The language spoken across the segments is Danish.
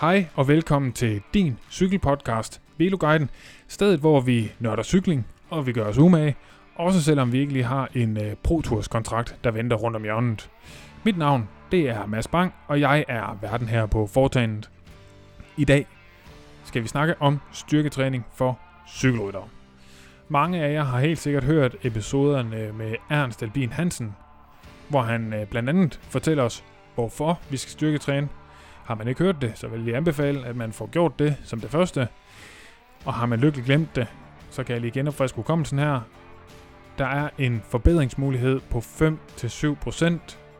Hej og velkommen til din cykelpodcast, Veloguiden. Stedet, hvor vi nørder cykling, og vi gør os umage. Også selvom vi ikke lige har en øh, pro-tours-kontrakt, der venter rundt om hjørnet. Mit navn, det er Mads Bang, og jeg er verden her på Fortanet. I dag skal vi snakke om styrketræning for cykelryttere. Mange af jer har helt sikkert hørt episoderne med Ernst Albin Hansen, hvor han øh, blandt andet fortæller os, hvorfor vi skal styrketræne. Har man ikke hørt det, så vil jeg anbefale, at man får gjort det som det første. Og har man lykkeligt glemt det, så kan jeg lige genopfriske hukommelsen her. Der er en forbedringsmulighed på 5-7%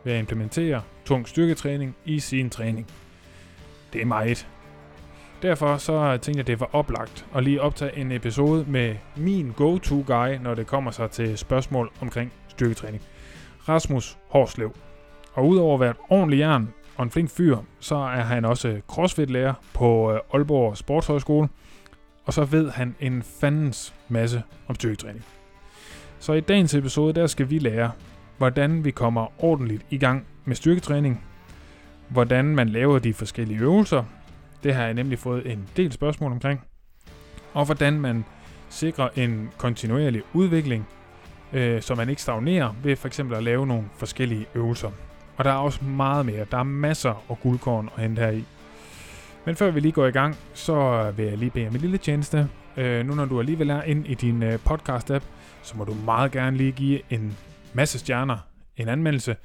ved at implementere tung styrketræning i sin træning. Det er meget. Derfor så tænkte jeg, det var oplagt at lige optage en episode med min go-to-guy, når det kommer sig til spørgsmål omkring styrketræning. Rasmus Horslev. Og udover at være et ordentligt jern og en flink fyr, så er han også crossfit-lærer på øh, Aalborg Sportshøjskole. Og så ved han en fandens masse om styrketræning. Så i dagens episode, der skal vi lære, hvordan vi kommer ordentligt i gang med styrketræning. Hvordan man laver de forskellige øvelser. Det har jeg nemlig fået en del spørgsmål omkring. Og hvordan man sikrer en kontinuerlig udvikling øh, så man ikke stagnerer ved for eksempel at lave nogle forskellige øvelser. Og der er også meget mere. Der er masser af guldkorn at hente her i. Men før vi lige går i gang, så vil jeg lige bede om en lille tjeneste. Øh, nu når du alligevel er inde i din øh, podcast-app, så må du meget gerne lige give en masse stjerner, en anmeldelse.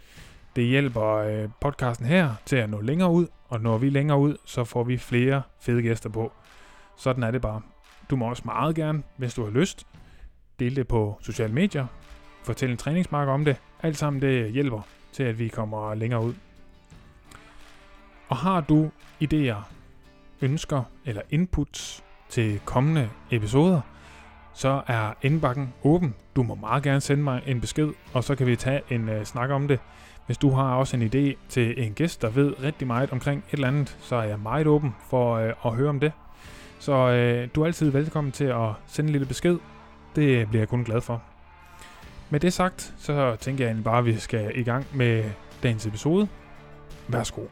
Det hjælper øh, podcasten her til at nå længere ud, og når vi længere ud, så får vi flere fede gæster på. Sådan er det bare. Du må også meget gerne, hvis du har lyst, dele det på sociale medier, fortæl en træningsmarker om det. Alt sammen det hjælper til, at vi kommer længere ud. Og har du idéer, ønsker eller inputs til kommende episoder, så er indbakken åben. Du må meget gerne sende mig en besked, og så kan vi tage en uh, snak om det. Hvis du har også en idé til en gæst, der ved rigtig meget omkring et eller andet, så er jeg meget åben for uh, at høre om det. Så uh, du er altid velkommen til at sende en lille besked, det bliver jeg kun glad for. Med det sagt, så tænker jeg egentlig bare, at vi skal i gang med dagens episode. Værsgo.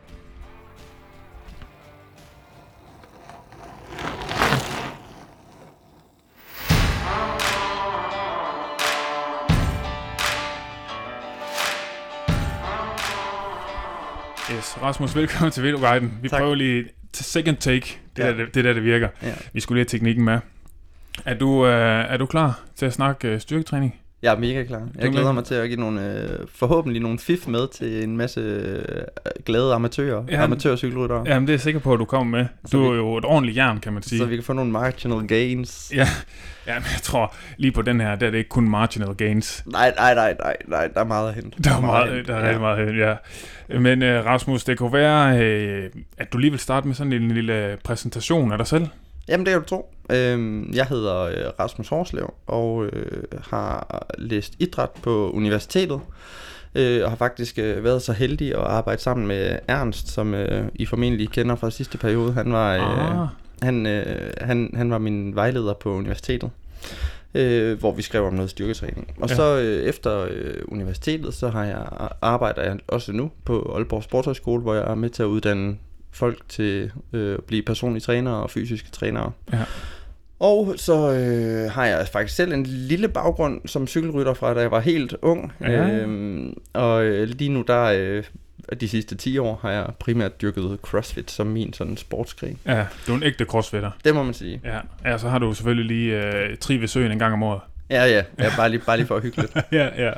Yes, Rasmus, velkommen til Veloguiden. Vi tak. Tak. prøver lige t- second take. Det, ja. Ja. der, det, det der, det virker. Ja. Vi skulle lige have teknikken med. Er du, øh, er du klar til at snakke øh, styrketræning? Jeg er mega klar. er Jeg glæder med. mig til at give nogle, øh, forhåbentlig nogle fif med til en masse øh, glade amatører, Ja. ja. amatørcykelryttere. Ja. Jamen, det er jeg sikker på, at du kommer med. Så Du vi- er jo et ordentligt jern, kan man sige. Så vi kan få nogle marginal gains. Ja. Jamen, jeg tror, lige på den her, der er det ikke kun marginal gains. Nej, nej, nej, nej, nej, der er meget at hente. Der er, meget, at der hente. er rigtig meget, ja. Men øh, Rasmus, det kunne være, øh, at du lige vil starte med sådan en lille præsentation af dig selv. Jamen det kan du tro. Øhm, jeg hedder øh, Rasmus Horslev og øh, har læst idræt på universitetet. Øh, og har faktisk øh, været så heldig at arbejde sammen med Ernst, som øh, I formentlig kender fra sidste periode. Han var, øh, Ah, han, øh, han, han var min vejleder på universitetet. Øh, hvor vi skrev om noget styrketræning. Og Ja. ja. så øh, efter øh, universitetet, så har jeg, arbejder jeg også nu på Aalborg Sportshøjskole, hvor jeg er med til at uddanne folk til øh, at blive personlige trænere og fysiske trænere. Ja. Og så øh, har jeg faktisk selv en lille baggrund som cykelrytter fra, da jeg var helt ung. Ja. Øhm, og øh, lige nu, der øh, de sidste 10 år, har jeg primært dyrket CrossFit som min sådan sportsgren. ja, du er en ægte crossfitter. Det må man sige. Ja, ja så har du selvfølgelig lige øh, Trivesøen en gang om året. Ja, ja. ja bare, lige, bare lige for at hygge lidt. ja, ja.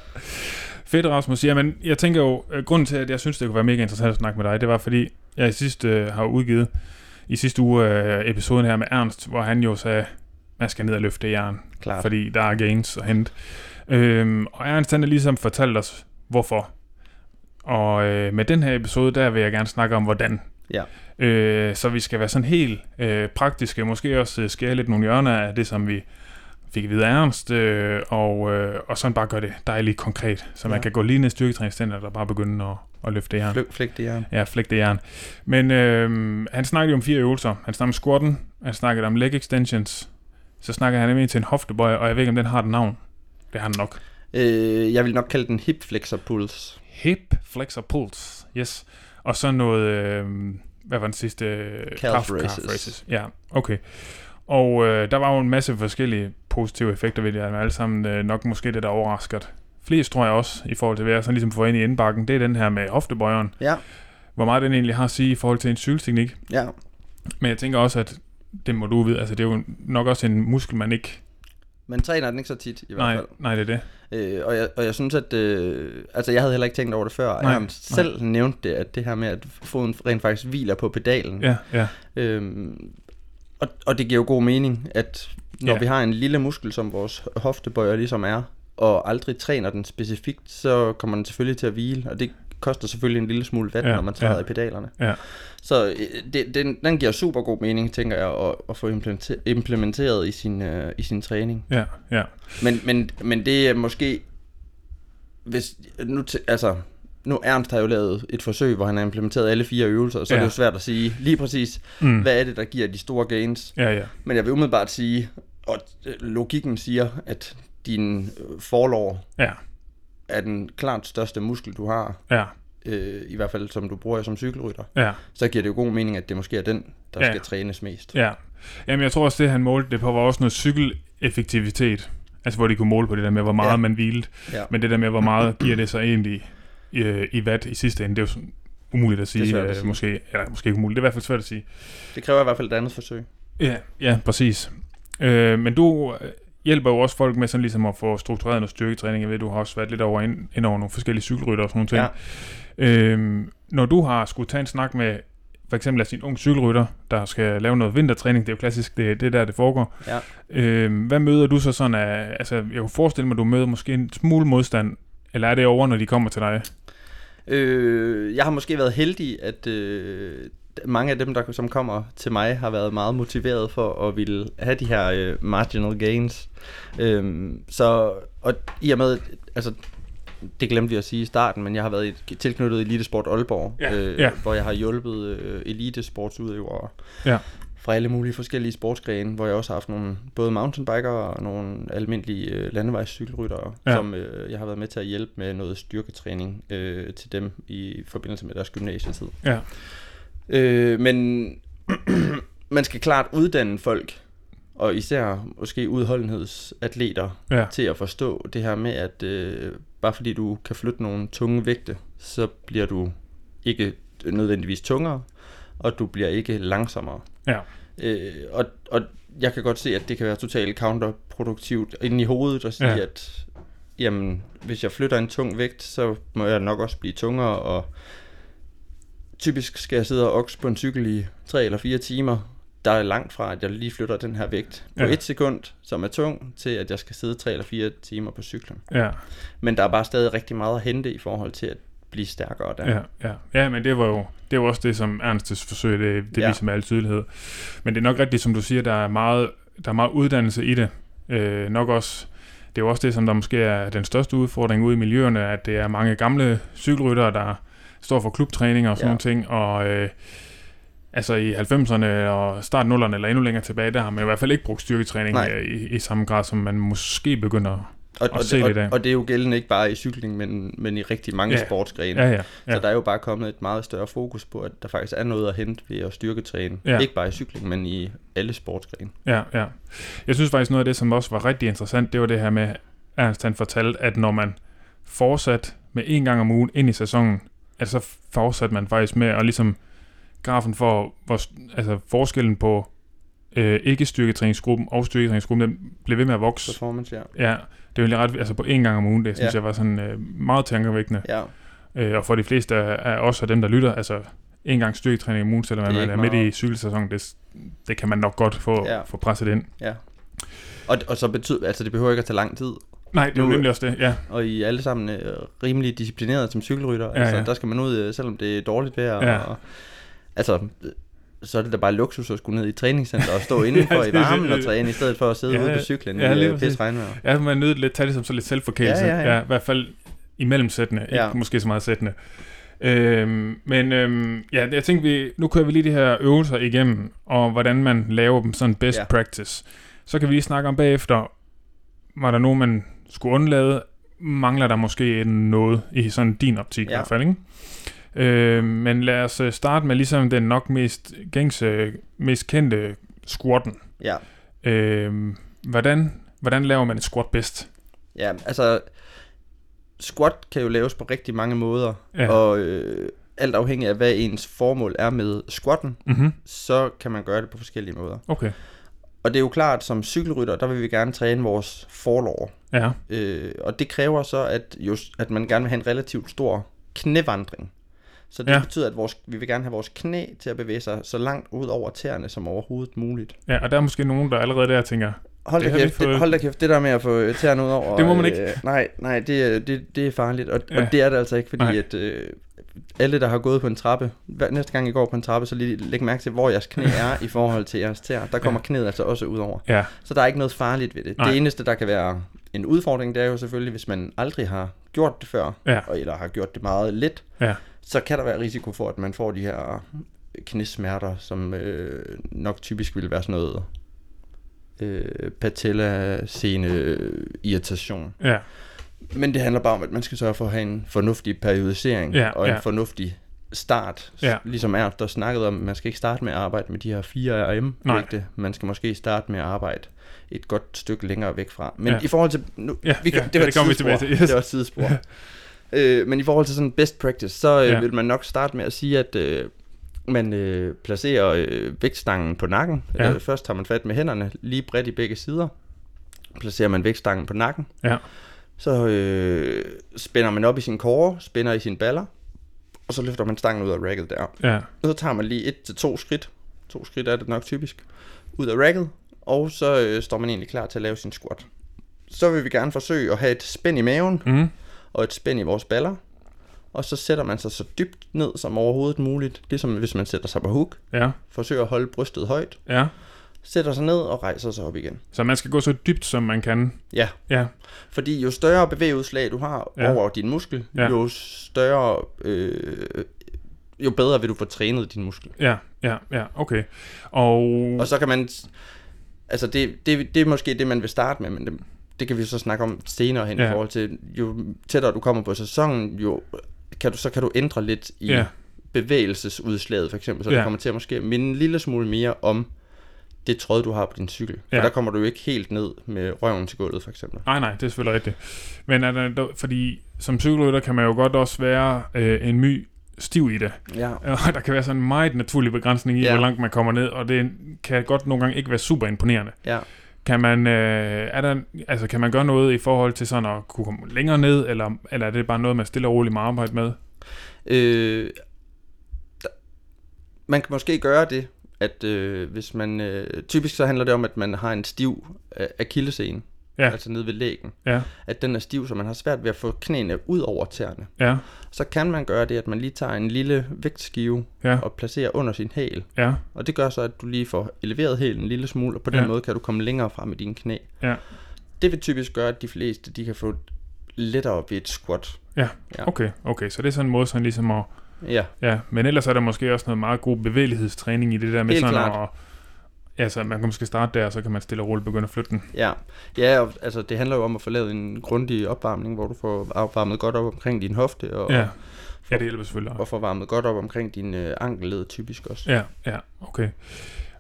Fedt, Rasmus. Jamen, jeg tænker jo, øh, grunden til, at jeg synes, det kunne være mega interessant at snakke med dig, det var, fordi jeg i sidste øh, har udgivet i sidste uge øh, episoden her med Ernst, hvor han jo sagde, man skal ned og løfte det jern, Klart. fordi der er gains at hente. Øhm, og Ernst, han har ligesom fortalt os, hvorfor. Og øh, med den her episode, der vil jeg gerne snakke om, hvordan. Ja. Øh, så vi skal være sådan helt øh, praktiske, måske også øh, skære lidt nogle hjørner af det, som vi fik at vide af Ernst, øh, og, øh, og sådan bare gøre det dejligt konkret, så man Ja. kan gå lige ned i styrketræningscenteret og bare begynde at, at løfte det jern. Flyg, flæk det jern. Ja, flæk det jern. Men øh, han snakkede jo om fire øvelser. Han snakkede om squatten, han snakkede om leg extensions, så snakkede han nemlig til en hoftebøj, og jeg ved ikke, om den har et navn. Det har den nok. Øh, jeg vil nok kalde den hip flexor puls. Hip flexor pulse, yes. Og så noget øh, hvad var den sidste? Calf races. Ja, okay. Og øh, der var jo en masse forskellige positive effekter ved det, og alle sammen øh, nok måske lidt overrasket. Flest tror jeg også, i forhold til hvad jeg sådan ligesom får ind i indbakken, det er den her med hoftebøjeren. Ja. Hvor meget den egentlig har at sige i forhold til en cykelteknik. Ja, Men jeg tænker også, at det må du vide, altså det er jo nok også en muskel, man ikke... man træner den ikke så tit i hvert Nej, fald. nej, det er det. Øh, og, jeg, og jeg synes, at... Øh, altså, jeg havde heller ikke tænkt over det før. Nej, Nej, jeg selv nævnte det, at det her med, at foden rent faktisk hviler på pedalen. Ja, ja, Øhm, og, og det giver jo god mening, at Ja. når ja. vi har en lille muskel, som vores hoftebøjer ligesom er, og aldrig træner den specifikt, så kommer den selvfølgelig til at hvile, og det koster selvfølgelig en lille smule vand, Ja, ja, når man træder ja. ja. i pedalerne. Ja. Så øh, det, den, den giver super god mening, tænker jeg, at, at få implementer- implementeret i sin, øh, i sin træning. ja, ja. Men, men, men det er måske... Hvis, nu, t- altså, nu Ernst har jo lavet et forsøg, hvor han har implementeret alle fire øvelser, så ja. er Ja. det jo svært at sige lige præcis, Mm. hvad er det, der giver de store gains. Ja, ja. Men jeg vil umiddelbart sige, og øh, logikken siger, at din øh, forlår Ja, er den klart største muskel, du har, ja, øh, i hvert fald som du bruger som cykelrytter, ja. så giver det jo god mening, at det måske er den, der Ja. ja. skal trænes mest. Ja. Jamen, jeg tror også, det han målte det på, var også noget cykeleffektivitet. Altså, hvor de kunne måle på det der med, hvor meget ja. Ja. man hvilede. Ja. Men det der med, hvor meget giver det så egentlig øh, i, i watt i sidste ende, det er jo sådan umuligt at sige, svært at øh, sige. måske. Eller måske ikke umuligt, det er i hvert fald svært at sige. Det kræver i hvert fald et andet forsøg. Ja, ja præcis. Øh, men du øh, hjælper jo også folk med sådan ligesom at få struktureret noget styrketræning. Jeg ved, du har også været lidt over ind, ind over nogle forskellige cykelrytter og sådan nogle ting. Ja. Øhm, når du har skulle tage en snak med for eksempel altså en ung cykelrytter, der skal lave noget vintertræning, det er jo klassisk, det er det er der, det foregår. Ja. Øhm, hvad møder du så sådan af, altså jeg kunne forestille mig, du møder måske en smule modstand, eller er det over, når de kommer til dig? Øh, jeg har måske været heldig, at øh, mange af dem, der som kommer til mig, har været meget motiveret for at ville have de her øh, marginal gains. Øh, så, og i og med, altså, det glemte vi at sige i starten, men jeg har været i, tilknyttet Elitesport Aalborg, Ja, øh, ja. hvor jeg har hjulpet øh, elitesportsudøvere Ja. fra alle mulige forskellige sportsgrene, hvor jeg også har haft nogle både mountainbikere og nogle almindelige øh, landevejscykelryttere, Ja. ja. som øh, jeg har været med til at hjælpe med noget styrketræning øh, til dem i forbindelse med deres gymnasietid. Ja. Øh, men man skal klart uddanne folk, og især måske udholdenhedsatleter, Ja. til at forstå det her med, at øh, bare fordi du kan flytte nogle tunge vægte, så bliver du ikke nødvendigvis tungere, og du bliver ikke langsommere. Ja. Øh, og, og jeg kan godt se, at det kan være totalt counterproduktivt inde i hovedet at sige, Ja. ja. at jamen, hvis jeg flytter en tung vægt, så må jeg nok også blive tungere, og typisk skal jeg sidde og okse på en cykel i 3 eller 4 timer. Der er langt fra, at jeg lige flytter den her vægt på Ja. ja. et sekund, som er tung, til at jeg skal sidde 3 eller 4 timer på cyklen. Ja. Men der er bare stadig rigtig meget at hente i forhold til at blive stærkere der. Ja, ja. ja, men det var jo det var også det, som Ernstes forsøg, det, det ja. Ja. viser med al tydelighed. Men det er nok rigtigt, som du siger, der er meget, der er meget uddannelse i det. Øh, nok også, det er jo også det, som der måske er den største udfordring ude i miljøerne, at det er mange gamle cykelryttere, der står for klubtræning og sådan ja. Ja. nogle ting, og øh, altså i 90'erne og start 0'erne eller endnu længere tilbage, der har man i hvert fald ikke brugt styrketræning Nej. øh, i, i samme grad, som man måske begynder. Og, Og og, se det i dag. og, og det er jo gældende ikke bare i cykling, men, men i rigtig mange Ja. ja. sportsgrene. Ja, ja, ja. Så der er jo bare kommet et meget større fokus på, at der faktisk er noget at hente ved at styrketræne. Ja. Ja. Ikke bare i cykling, men i alle sportsgrene. Ja, ja. Jeg synes faktisk noget af det, som også var rigtig interessant, det var det her med, Ernst han fortalte, at når man fortsat med en gang om ugen ind i sæsonen, at så fortsatte man faktisk med at ligesom grafen for hvor, altså forskellen på øh, ikke styrketræningsgruppen og styrketræningsgruppen, den blev ved med at vokse. Performance, ja. Ja, det er jo egentlig ret, altså på en gang om ugen, det synes ja. Ja. jeg var sådan øh, meget tankevækkende. Ja, Øh, og for de fleste af, af os og dem, der lytter, altså en gang styrketræning om ugen, selvom Det er man ikke er midt i meget. cykelsæsonen, det, det kan man nok godt få, ja. Ja. få presset ind. ja. Og, og så betyder, altså det behøver ikke at tage lang tid, Nej, det er jo Nu- nemlig også det, ja. og I er alle sammen øh, rimelig disciplineret som cykelrytter. Ja, altså, ja. der skal man ud, øh, selvom det er dårligt vejr. Ja. Og, altså, øh, så er det da bare luksus at skulle ned i et træningscenter og stå indenfor Ja, i det- varmen og det- træne, i stedet for at sidde Ja, ja, ude på cyklen ja, ja, i lige øh, præcis. pisse regnvejr. Ja, man er nødt til at tage det som så lidt selvforkælelse. Ja, ja, ja. ja i hvert fald immellemsættende, ikke Ja. måske så meget sættende. Øhm, men øhm, ja, jeg tænkte, vi, nu kører vi lige de her øvelser igennem, og hvordan man laver dem sådan best ja. Ja. practice. Så kan vi lige snakke om bagefter, var der nogen, man skulle undlade? Mangler der måske noget i sådan din optik ja. i Ja. hvert fald, ikke? Øh, men lad os øh, starte med ligesom den nok mest gængse, mest kendte squatten. Ja. Øh, hvordan, hvordan laver man et squat bedst? Ja, altså, squat kan jo laves på rigtig mange måder, Ja. og øh, alt afhængig af, hvad ens formål er med squatten, Mm-hmm. så kan man gøre det på forskellige måder. Okay. Og det er jo klart, som cykelrytter, der vil vi gerne træne vores forlår. Ja. Øh, og det kræver så, at, just, at man gerne vil have en relativt stor knævandring. Så det Ja. ja. betyder, at vores, vi vil gerne have vores knæ til at bevæge sig så langt ud over tæerne som overhovedet muligt. ja, og der er måske nogen, der allerede der tænker, Hold Det da, har vi kæft, fået- det, hold da kæft, det der med at få øh, tæerne ud over... Det må man ikke. Øh, nej, nej, det, er- det, det er farligt, og, ja. Ja. og det er det altså ikke, fordi Nej. at, øh, alle, der har gået på en trappe, hver, næste gang I går på en trappe, så lige læg mærke til, hvor jeres knæ er i forhold til jeres tæer. Der kommer ja. knæet altså også ud over. ja, Så der er ikke noget farligt ved det. Nej. Det eneste, der kan være en udfordring, det er jo selvfølgelig, hvis man aldrig har gjort det før, Ja. og- eller har gjort det meget let, Ja. så kan der være risiko for, at man får de her knæsmerter, som øh, nok typisk vil være sådan noget øh, patella sene irritation. ja, Men det handler bare om, at man skal sørge for at have en fornuftig periodisering Ja, og en ja. fornuftig start. S- Ja. Ligesom er der snakkede om, man skal ikke starte med at arbejde med de her 4 RM Nej. vægte. Man skal måske starte med at arbejde et godt stykke længere væk fra. Men Ja. ja. i forhold til... Nu, Ja, ja, det, var ja, et det kommer vi sidespor. tilbage til, yes. Det var et sidespor. øh, men i forhold til sådan best practice, så øh, Ja. vil man nok starte med at sige, at øh, man øh, placerer øh, vægtstangen på nakken. Ja. Ja. Øh, først tager man fat med hænderne lige bredt i begge sider. Placerer man vægtstangen på nakken. ja, Så øh, spænder man op i sin kåre, spænder i sine baller, og så løfter man stangen ud af racket der. ja, Og så tager man lige et til to skridt, to skridt er det nok typisk, ud af racket, og så øh, står man egentlig klar til at lave sin squat. Så vil vi gerne forsøge at have et spænd i maven mm, og et spænd i vores baller, og så sætter man sig så dybt ned som overhovedet muligt, ligesom hvis man sætter sig på hook, ja, forsøger at holde brystet højt, ja. sætter sig ned og rejser sig op igen. Så man skal gå så dybt, som man kan. Ja, Ja, Fordi jo større bevægeudslag du har Ja. ja. over din muskel, Ja. ja. jo større, øh, jo bedre vil du få trænet din muskel. ja, ja, ja, okay. Og, Og så kan man, altså det, det, det er måske det, man vil starte med, men det, det kan vi jo så snakke om senere hen Ja. ja. i forhold til, jo tættere du kommer på sæsonen, jo kan du, så kan du ændre lidt i Ja. ja. bevægelsesudslaget for eksempel, så ja. Ja. det kommer til at måske minde en lille smule mere om det tråd, du har på din cykel. Ja. Ja. For der kommer du jo ikke helt ned med røven til gulvet for eksempel. Nej, nej, det er selvfølgelig rigtigt. Men er der, der- fordi som cykelrytter kan man jo godt også være øh, en my stiv i det. Ja. Og der kan være sådan en meget naturlig begrænsning i, ja. Ja. hvor langt man kommer ned, og det kan godt nogle gange ikke være super imponerende. Ja. Kan man, øh, er der, altså, kan man gøre noget i forhold til sådan at kunne komme længere ned, eller, eller er det bare noget, man stille og roligt må arbejde med? Øh, der- man kan måske gøre det, at øh, hvis man... Øh, typisk så handler det om, at man har en stiv øh, akillescene, Ja. altså nede ved lægen. Ja. At den er stiv, så man har svært ved at få knæene ud over tæerne. Ja, Så kan man gøre det, at man lige tager en lille vægtskive ja, og placerer under sin hæl. ja, Og det gør så, at du lige får eleveret hælen en lille smule, og på den Ja. måde kan du komme længere frem i dine knæ. Ja. Det vil typisk gøre, at de fleste de kan få lettere ved et squat. okay, okay, så det er sådan en måde sådan ligesom at, Ja, ja, men ellers er der måske også noget meget god bevægelighedstræning i det der med Helt sådan klart. at, altså man kan måske starte der, og så kan man stille og roligt begynde at flytte den. Ja, ja og, altså det handler jo om at få lavet en grundig opvarmning, hvor du får opvarmet godt op omkring din hofte, og, Ja, ja det hjælper selvfølgelig også. og får varmet godt op omkring din øh, ankelled typisk også. Ja, ja, okay.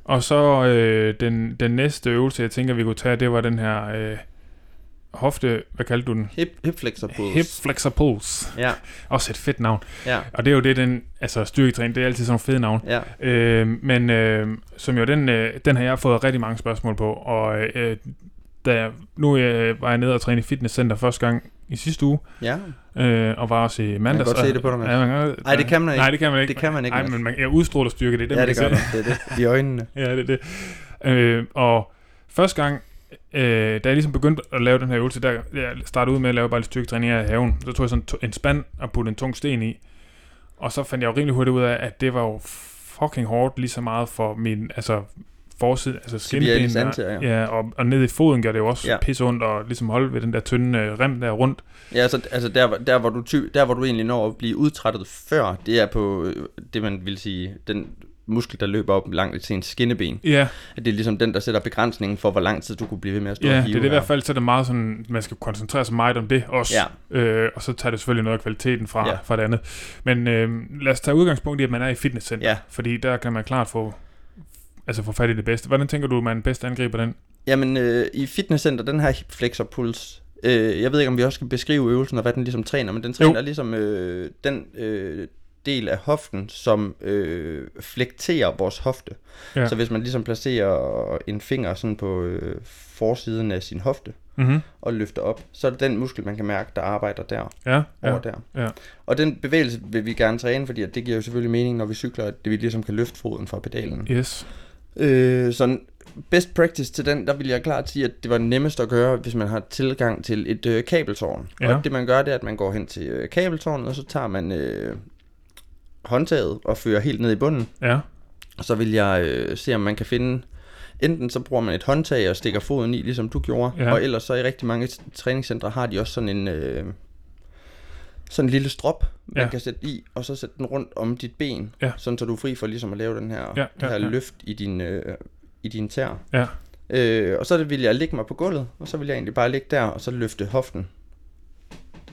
Og så øh, den, den næste øvelse, jeg tænker, vi kunne tage, det var den her øh, hofte, hvad kaldte du den? Hip, hip flexor pose. Hip flexor pulse. Ja, Også et fedt navn. ja, Og det er jo det, den, altså styrketræning, det er altid sådan nogle fede navn. ja. Øh, men øh, som jo, den, øh, den har jeg fået rigtig mange spørgsmål på, og øh, da jeg, nu øh, var jeg nede og træne i fitnesscenter første gang i sidste uge, ja. øh, og var også i mandags. godt og- se det på dig, Mads. Ja, man kan- Ej, det kan man ikke. Nej, det kan man ikke. Det kan man ikke, Ej, Mads. men man, jeg udstråler styrke, det er det, ja, man det kan gør se. du. Det er det. I øjnene. Ja, det er det. Øh, og første gang, øh, da jeg ligesom begyndte at lave den her øvelse, der jeg startede ud med at lave bare lidt styrketræning her i haven. Så tog jeg sådan to- en spand og puttede en tung sten i. Og så fandt jeg jo rimelig hurtigt ud af, at det var jo fucking hårdt lige så meget for min, altså forside, altså Tibialis skinben. og- anterior. Ja, og, og ned i foden gør det jo også ja. Ja. pisse ondt og ligesom holde ved den der tynde øh, rem der rundt. Ja, altså, altså der, hvor- der, hvor du ty, der, hvor du egentlig når at blive udtrættet før, det er på øh, det, man vil sige, den muskel, der løber op langt til en skinneben. Ja, At det er ligesom den, der sætter begrænsningen for, hvor lang tid du kunne blive ved med at stå ja og det hive. er det i hvert her. fald, så er det meget sådan, man skal koncentrere sig meget om det også. Ja. Øh, og så tager det selvfølgelig noget af kvaliteten fra, Ja. fra det andet. Men øh, lad os tage udgangspunkt i, at man er i fitnesscenter, Ja. fordi der kan man klart få, altså få fat i det bedste. Hvordan tænker du, man bedst angriber den? Jamen, øh, i fitnesscenter, den her hip flexor puls, øh, jeg ved ikke, om vi også skal beskrive øvelsen og hvad den ligesom træner, men den træner jo. ligesom øh, den øh, del af hoften, som øh, flekterer vores hofte. Ja. Ja. Så hvis man ligesom placerer en finger sådan på øh, forsiden af sin hofte Mm-hmm. og løfter op, så er det den muskel, man kan mærke, der arbejder der Ja, ja. ja, over der. ja. Og den bevægelse vil vi gerne træne, fordi at det giver jo selvfølgelig mening, når vi cykler, at det- vi ligesom kan løfte foden fra pedalen. yes. Øh, sådan best practice til den, der vil jeg klart sige, at det var nemmest at gøre, hvis man har tilgang til et øh, kabeltårn. Ja. Og det man gør, det er, at man går hen til øh, kabeltårnet, og så tager man øh, håndtaget og fører helt ned i bunden. Ja, Og så vil jeg øh, se, om man kan finde... Enten så bruger man et håndtag og stikker foden i, ligesom du gjorde, Ja. ja. og ellers så i rigtig mange t- træningscentre har de også sådan en... Øh, sådan en lille strop, man Ja. ja. kan sætte i, og så sætte den rundt om dit ben, Ja. sådan så du er fri for ligesom at lave den her, Ja, ja, ja, ja, her ja. løft i din, øh, i din tær. Ja. Øh, og så ville jeg ligge mig på gulvet, og så ville jeg egentlig bare ligge der, og så løfte hoften.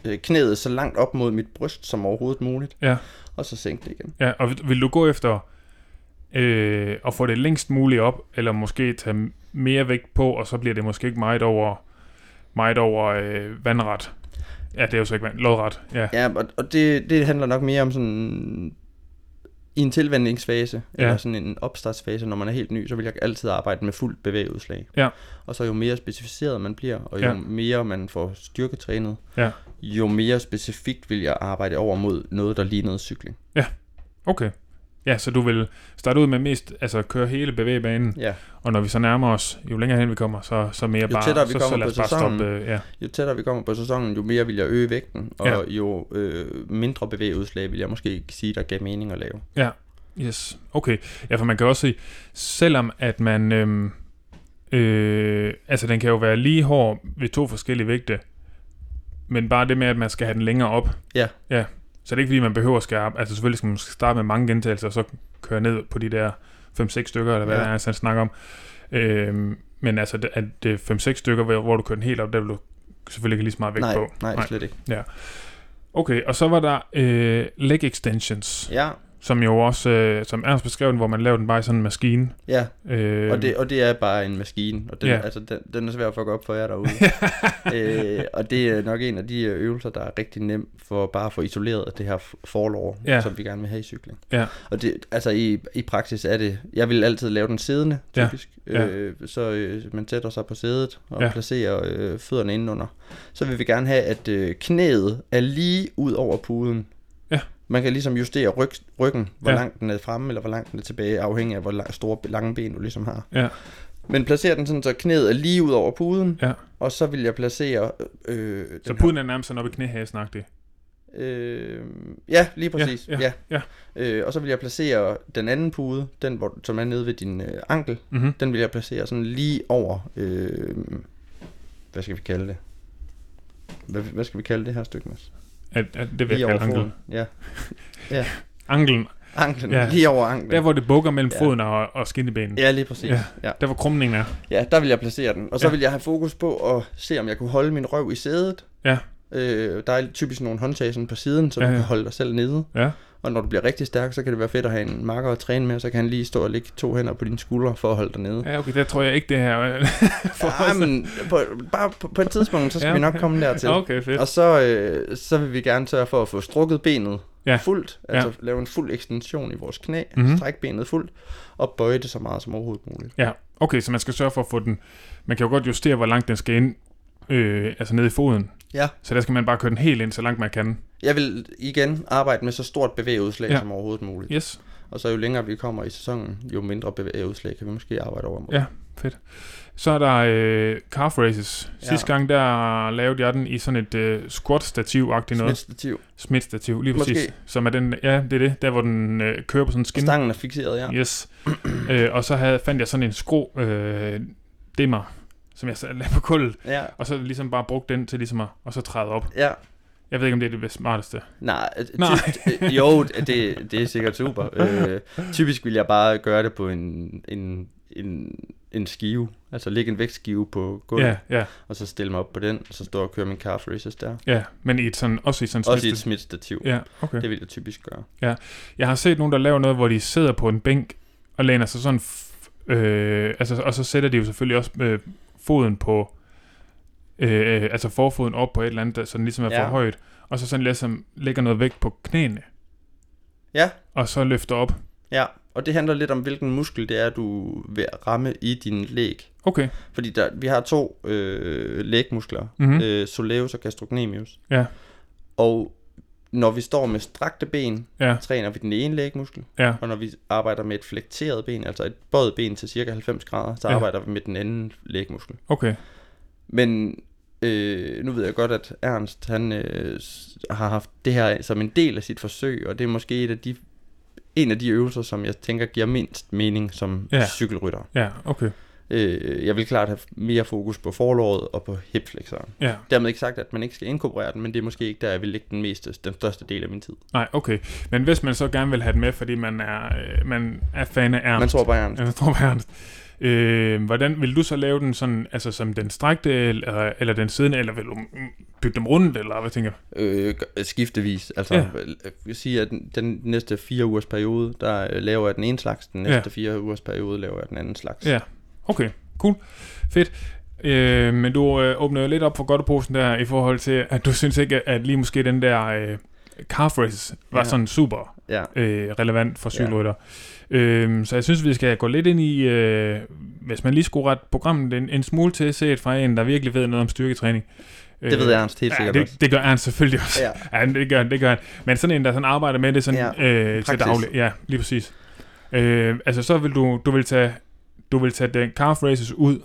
Øh, knæet så langt op mod mit bryst som overhovedet muligt, ja, og så sænke det igen. ja. Og vil- vil du gå efter øh, at få det længst muligt op, eller måske tage mere vægt på, og så bliver det måske ikke meget over, meget over øh, vandret? Ja, det er jo så ikke vand, lodret. Ja, Ja, og, og det, det handler nok mere om sådan i en tilvændingsfase, Ja. ja. eller sådan en opstartsfase, når man er helt ny, så vil jeg altid arbejde med fuldt bevægeudslag. Ja. Og så jo mere specificeret man bliver, og jo Ja. ja. mere man får styrketrænet, Ja. jo mere specifikt vil jeg arbejde over mod noget, der lignede cykling. okay. Ja, så du vil starte ud med mest, altså køre hele bevægebanen, Ja. og når vi så nærmer os, jo længere hen vi kommer, så, så mere Jo bare, tættere vi så, så kommer lad på os bare sæsonen. stoppe. Øh, ja. Jo tættere vi kommer på sæsonen, jo mere vil jeg øge vægten, og Ja. ja. jo øh, mindre bevægeudslag vil jeg måske sige, der gav mening at lave. Yes, okay. Ja, for man kan også se, selvom at man, øhm, øh, altså den kan jo være lige hård ved to forskellige vægte, men bare det med, at man skal have den længere op. Ja. Ja, så det er ikke fordi, man behøver at skære altså selvfølgelig skal man starte med mange gentagelser, og så køre ned på de der 5-6 stykker, eller hvad Ja. ja. der er, sådan snakker om. Øhm, men altså, det- at det er 5-6 stykker, hvor hvor du kører den helt op, der vil du selvfølgelig ikke lige så meget vægt nej, på. nej, Nej. nej, slet ikke. Okay, og så var der øh, leg extensions Ja, som jo også, øh, som Ernst beskrev den, hvor man laver den bare i sådan en maskine. ja. Øh, Og det, og det er bare en maskine, og den, Ja. ja. altså, den, den er svær at fuck op for jer derude. øh, og det er nok en af de øh, øvelser, der er rigtig nem for bare at få isoleret det her f- forlov, Ja. ja. som vi gerne vil have i cykling. Ja. Og det, altså i, i praksis er det, jeg vil altid lave den siddende, Ja. typisk. Ja. Øh, så øh, man sætter sig på sædet og Ja. ja. placerer øh, fødderne indenunder. Så vil vi gerne have, at øh, knæet er lige ud over puden. Ja. Man kan ligesom justere ryg, ryggen, hvor Ja. ja. langt den er fremme, eller hvor langt den er tilbage, afhængig af, hvor lang, store lange ben du ligesom har. Ja. Men placerer den sådan, så knæet er lige ud over puden, Ja. og så vil jeg placere... Øh, den så her- puden er nærmest sådan oppe i knæhæsnagtig. Øh, ja, lige præcis. ja, ja. ja. Øh, og så vil jeg placere den anden pude, den hvor, som er nede ved din øh, ankel, Mm-hmm. den vil jeg placere sådan lige over... Øh, hvad skal vi kalde det? Hvad, hvad skal vi kalde det her stykke, Mads? At, at, det vil jeg kalde anklen. Ja, Anklen, anklen. Ja. Ja. Lige over anklen. der hvor det bukker mellem Ja. foden og, og skinnebenet. Ja, lige præcis. Ja. Ja. Ja. Der hvor krumningen er. ja, der vil jeg placere den. Og så Ja. ja. vil jeg have fokus på at se, om jeg kunne holde min røv i sædet. Ja. Øh, der er typisk nogle håndtag sådan på siden, så Ja, ja, ja. ja. du kan holde dig selv nede. Ja. Og når du bliver rigtig stærk, så kan det være fedt at have en marker at træne med, og så kan han lige stå og lægge to hænder på dine skuldre for at holde dig nede. ja, okay, der tror jeg ikke det her. Ja, men på, bare på, på et tidspunkt, så skal Ja, ja, vi nok okay. komme dertil. okay, fedt. Og så, øh, så vil vi gerne sørge for at få strukket benet Ja. fuldt, Ja. altså lave en fuld ekstension i vores knæ, Mhm. mm-hmm. strække benet fuldt, og bøje det så meget som overhovedet muligt. Ja, okay, så man skal sørge for at få den... Man kan jo godt justere, hvor langt den skal ind, øh, altså ned i foden. Ja. Så der skal man bare køre den helt ind, så langt man kan. Jeg vil igen arbejde med så stort bevægeudslag Ja. ja. som overhovedet muligt. Yes. Og så jo længere vi kommer i sæsonen, jo mindre bevægeudslag kan vi måske arbejde over mod. Ja. Så er der øh, calf races. Sidste gang, der lavede jeg den i sådan et øh, squat-stativ-agtigt noget. Smidt stativ. Smitstativ, lige Måske. præcis. Som er den, ja, det er det, der hvor den øh, kører på sådan en skin. Stangen er fixeret, ja. Yes. øh, og så havde, fandt jeg sådan en skrå øh, dimmer, som jeg sad lagde på gulvet, Ja, og så ligesom bare brugte den til ligesom at, og så træde op. ja. Jeg ved ikke, om det er det smarteste. Nej, ty- Nej. øh, jo, det, det er sikkert super. Øh, typisk vil jeg bare gøre det på en, en, en, en skive, altså lægge en vægtskive på gulvet, Ja, yeah. ja, og så stille mig op på den, og så stå og køre min calf races der. ja. Men i et sådan, også i sådan Også i et snitstil- smidt stativ. Ja, okay. Det vil jeg typisk gøre. Jeg har set nogen, der laver noget, hvor de sidder på en bænk og læner sig sådan... F- øh, altså, og så sætter de jo selvfølgelig også øh, foden på... Øh, øh, altså forfoden op på et eller andet, der sådan ligesom er for Ja. højt. Og så sådan ligesom lægger noget vægt på knæene. Ja. Og så løfter op. Ja, og det handler lidt om, hvilken muskel det er, du vil ramme i din læg. Okay. Fordi der, vi har to øh, lægmuskler, Mhm. mm-hmm. øh, soleus og gastrocnemius. Ja. Og når vi står med strakte ben, Ja. træner vi den ene lægmuskel, Ja. og når vi arbejder med et flekteret ben, altså et bøjet ben til cirka 90 grader, så Ja. arbejder vi med den anden lægmuskel. Okay. Men øh, nu ved jeg godt, at Ernst han øh, s- har haft det her som en del af sit forsøg, og det er måske et af de, en af de øvelser, som jeg tænker giver mindst mening som Ja. ja. cykelrytter. Ja, okay. Øh, jeg vil klart have mere fokus på forlåret og på hipflexeren. Ja. Dermed ikke sagt, at man ikke skal inkorporere den, men det er måske ikke der, jeg vil lægge den, meste, den største del af min tid. Nej, okay. Men hvis man så gerne vil have den med, fordi man er, øh, man er fan af Ernst. Man tror på Ernst. Jeg tror på Ernst. Øh, hvordan vil du så lave den sådan, altså som den strækte, eller, eller den siddende, eller vil du mm, bytte dem rundt, eller hvad tænker du? Øh, g- skiftevis. Altså, Ja. ja. jeg vil sige, at den, den næste fire ugers periode, der øh, laver jeg den ene slags, den næste Ja. ja. fire ugers periode laver jeg den anden slags. Ja. Okay, cool. Fedt. Øh, men du øh, åbner jo lidt op for godteposen der, i forhold til, at du synes ikke, at lige måske den der øh, calf race var ja. Ja. sådan super ja. øh, relevant for Ja. cykelrytter. Ja. Øhm, så jeg synes, vi skal gå lidt ind i, øh, hvis man lige skulle rette programmet en, en smule til, set fra en, der virkelig ved noget om styrketræning. Det ved Ernst Øh, helt ja, sikkert også. det, det gør han selvfølgelig også. Ja. Ja, det gør, han, det gør han. Men sådan en, der sådan arbejder med det sådan, ja. øh, til praksis. daglig. Ja, lige præcis. Øh, altså, så vil du, du vil tage, du vil tage den calf races ud.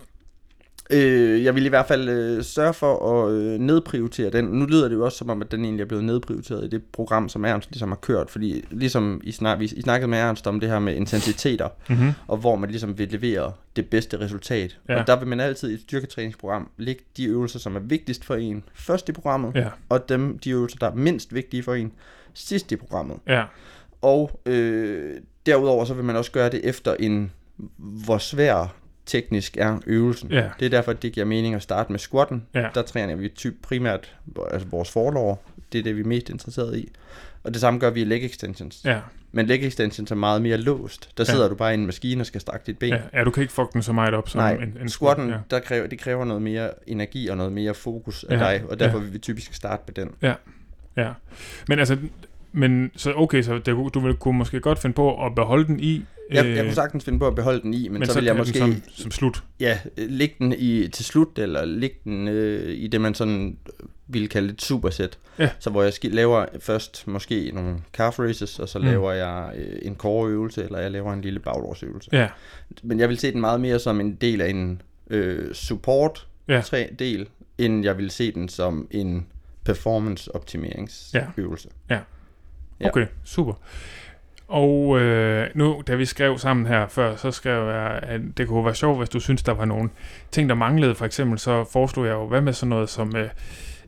Øh, jeg vil i hvert fald øh, sørge for at øh, nedprioritere den. Nu lyder det jo også som om, at den egentlig er blevet nedprioriteret i det program, som Ernst ligesom har kørt. Fordi ligesom I, snak, vi, I snakkede med Ernst om det her med intensiteter, Mm-hmm. og hvor man ligesom vil levere det bedste resultat. Ja. Ja. Og der vil man altid i et styrketræningsprogram lægge de øvelser, som er vigtigst for en først i programmet, Ja, og dem, de øvelser, der er mindst vigtige for en sidst i programmet. ja, Og øh, derudover så vil man også gøre det efter en, hvor svær teknisk er øvelsen. Ja. Det er derfor, det giver mening at starte med squatten. Ja. Der træner vi typ primært altså vores forlår. Det er det, vi er mest interesseret i. Og det samme gør vi i leg extensions. ja, Men leg extensions er meget mere låst. Der Ja. sidder du bare i en maskine og skal strække dit ben. ja. Ja, du kan ikke fuck den så meget op som Nej, en, en squatten, Ja. der kræver, det kræver noget mere energi og noget mere fokus af Ja, dig, og derfor vil vi typisk starte med den. Ja, men altså, men så okay, så det, kunne- du ville, kunne måske godt finde på at beholde den i, Jeg, øh, jeg kunne sagtens finde på at beholde den i, men, men, men så, så vil jeg tage måske den som, som slut. ja, øh, læg den i, til slut, eller læg den øh, i det, man sådan øh, ville kalde et supersæt. Ja. Så hvor jeg sk- laver først måske nogle calf races, og så Mm. mm. laver jeg øh, en koreøvelse, eller jeg laver en lille bagdårsøvelse. Ja, Men jeg vil se den meget mere som en del af en øh, support Ja. tre del, end jeg vil se den som en performance Ja. optimeringsøvelse. Ja. okay, super. Og øh, nu, da vi skrev sammen her før, så skrev jeg, at det kunne være sjovt, hvis du synes, der var nogle ting, der manglede. For eksempel så foreslog jeg jo, hvad med sådan noget som øh,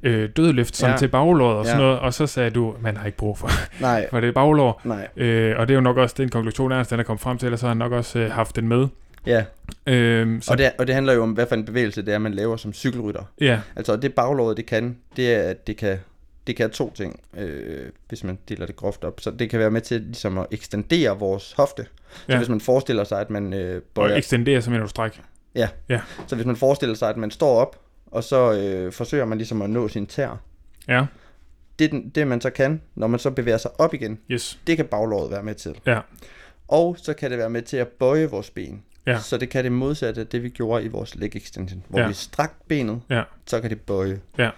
øh, dødløft som Ja. til baglår og sådan Ja. noget. Og så sagde du, man har ikke brug for, Nej, for det baglår. nej. Øh, og det er jo nok også den konklusion, Ernst han er kommet frem til, og så har han nok også øh, haft den med. Ja, Øh, så og det, og det handler jo om, hvad for en bevægelse det er, man laver som cykelrytter. ja, Altså det baglåret det kan, det er at det kan det kan to ting, øh, hvis man deler det groft op. Så det kan være med til ligesom at ekstendere vores hofte. Så Ja. ja. hvis man forestiller sig at man øh, og bøjer, ekstendere som en stræk. så hvis man forestiller sig at man står op og så øh, forsøger man ligesom at nå sin tær. Ja, Det, er den- det man så kan, når man så bevæger sig op igen, yes. det kan baglåret være med til. Ja. Og så kan det være med til at bøje vores ben. Ja. Så det kan det modsatte af det, vi gjorde i vores leg extension. Hvor Ja. ja. vi strakt benet, Ja. så kan det bøje. Ja.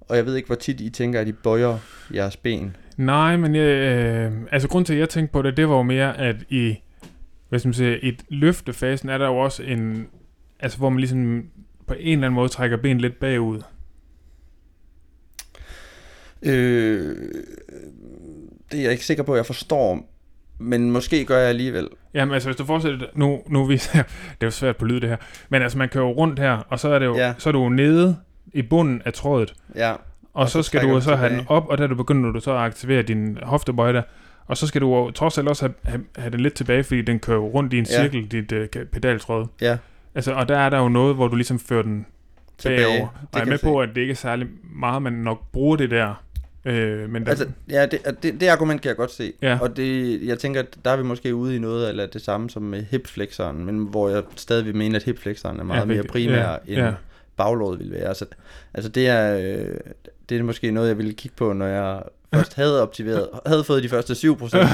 Og jeg ved ikke, hvor tit I tænker, at I bøjer jeres ben. Nej, men jeg, øh, altså grund til, at jeg tænkte på det, det var jo mere, at i, hvad skal man sige, i løftefasen er der jo også en, altså hvor man ligesom på en eller anden måde trækker ben lidt bagud. Øh, det er jeg ikke sikker på, at jeg forstår. Men måske gør jeg alligevel. Jamen altså, hvis du fortsætter, nu, nu viser jeg, det er jo svært på lyd det her, men altså man kører jo rundt her, og så er, det jo, Ja. så er du jo nede i bunden af trådet, Ja. og så så skal trækker du du så have den tilbage. op, og der du begynder du så at aktivere din hoftebøjder, og så skal du jo trods alt også have, have, have den lidt tilbage, fordi den kører jo rundt i en Ja. cirkel, dit øh, ka- pedaltråd. Ja. Altså, og der er der jo noget, hvor du ligesom fører den Tilbage. bagover. Det Og jeg er kan med jeg se. på, at det ikke er særlig meget, man nok bruger det der. Øh, men der, Altså, ja, det, og det, det argument kan jeg godt se. Ja. Og det, jeg tænker, at der er vi måske ude i noget eller det samme som med hipflexeren, men hvor jeg stadig vil mene, at hipflexeren er meget Ja, ja, mere vigtigt. primær, Ja, ja, end ja. ja. baglåret ville være. Altså, altså det, er, øh, det er måske noget, jeg ville kigge på, når jeg først havde optimeret, havde fået de første 7 procent,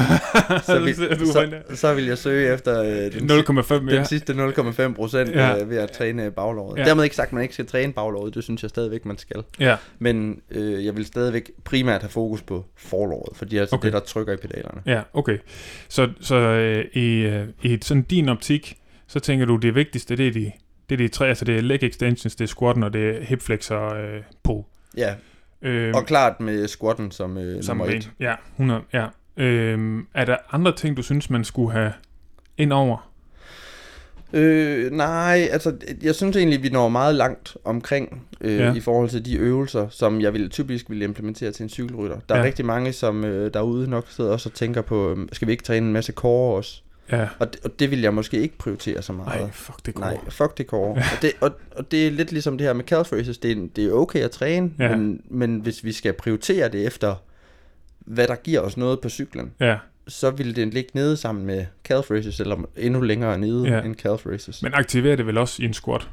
så, vil, sidder du så, herinde. så vil jeg søge efter øh, den, 0,5 mere. den sidste 0,5 procent Ja. øh, ved at træne baglåret. Ja. Ja. Dermed ikke sagt, at man ikke skal træne baglåret, det synes jeg stadigvæk, man skal. Ja, Men øh, jeg vil stadigvæk primært have fokus på forlåret, fordi det er altså Okay. okay. det, der trykker i pedalerne. ja, okay. Så, så øh, i, øh, i et- sådan din optik, så tænker du, det vigtigste, det er de, det er de tre, altså det er leg extensions, det er squatten, og det er hip flexor øh, pull. Ja, Øh, og klart med squatten som øh, som nummer ben. et. Ja, 100, ja. Øh, er der andre ting, du synes, man skulle have ind over? Øh, nej, altså jeg synes egentlig, vi når meget langt omkring øh, Ja. ja. i forhold til de øvelser, som jeg ville, typisk ville implementere til en cykelrytter. Der er Ja. ja. rigtig mange, som øh, derude nok sidder også og tænker på, øh, skal vi ikke træne en masse core også? Ja, Og det, og det vil jeg måske ikke prioritere så meget. nej, fuck det går. Nej, fuck det core. og, det, og, og det er lidt ligesom det her med calf races. Det er, en- det er okay at træne, Ja. ja. men, men hvis vi skal prioritere det efter, hvad der giver os noget på cyklen, Ja, så vil den ligge nede sammen med calf races, eller endnu længere nede Ja. ja. end calf races. Men... men aktiverer det vel også i en squat?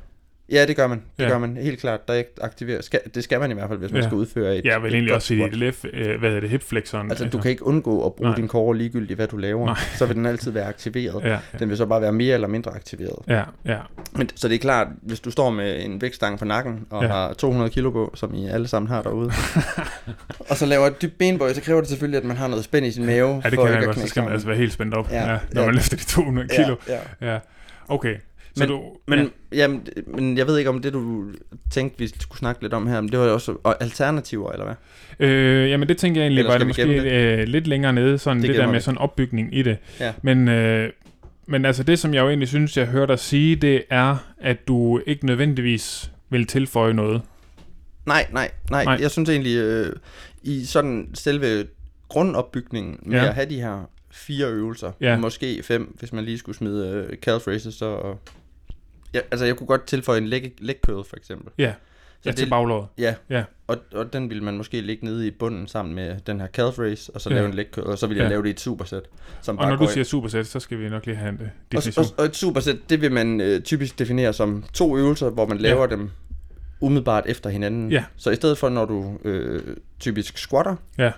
Ja, det gør man. Det Ja. ja. gør man helt klart. Der er ikke aktiveret. Skal, det skal man i hvert fald, hvis man Ja. skal udføre et Ja, vel et egentlig godt også i squat. dit lef, øh, hvad hedder det, Øh, hip flexoren. Altså, du kan ikke undgå at bruge Nej. Nej. din core ligegyldigt, hvad du laver. Nej. Nej. Så vil den altid være aktiveret. Ja, Den vil så bare være mere eller mindre aktiveret. ja, ja, Men, så det er klart, hvis du står med en vægtstang på nakken og Ja. ja. har 200 kilo på, som I alle sammen har derude, og så laver et dybt benbøj, så kræver det selvfølgelig, at man har noget spænd i sin mave. Ja, det for kan ikke jeg at godt. Så knække skal man sammen. altså være helt spændt op, ja, Ja, ja, når ja. man løfter de 200 kilo. Ja, ja. Ja. ja. Okay. Så Men- du... Men, ja. ja. jamen, det- men jeg ved ikke, om det, du tænkte, vi skulle snakke lidt om her, men det var jo også og alternativer, eller hvad? Øh, jamen det tænker jeg egentlig, Eller var det skal vi måske gemme øh, lidt længere nede, sådan det, Det det der gemmer med vi. sådan opbygning i det. Ja. Men, øh, men altså det, som jeg jo egentlig synes, jeg hørte dig sige, det er, at du ikke nødvendigvis vil tilføje noget. Nej, nej, nej. Nej. nej. Jeg synes egentlig, øh, i sådan selve grundopbygningen med Ja. ja. at have de her fire øvelser, Ja. ja. måske fem, hvis man lige skulle smide øh, calf raises, så... Ja, altså, jeg kunne godt tilføje en leg, leg curl, for eksempel. Ja. Så Ja, det- til baglåret. Ja, Ja. Og, og den ville man måske ligge nede i bunden sammen med den her calf race, og så Ja. lave en leg curl, og så ville jeg Ja. lave det i et supersæt. Som Og når bare du går i- siger supersæt, så skal vi nok lige have en øh, og, definition. og, og et supersæt, det vil man øh, typisk definere som to øvelser, hvor man laver ja. dem umiddelbart efter hinanden. Ja. Så i stedet for, når du øh, typisk squatter, Ja.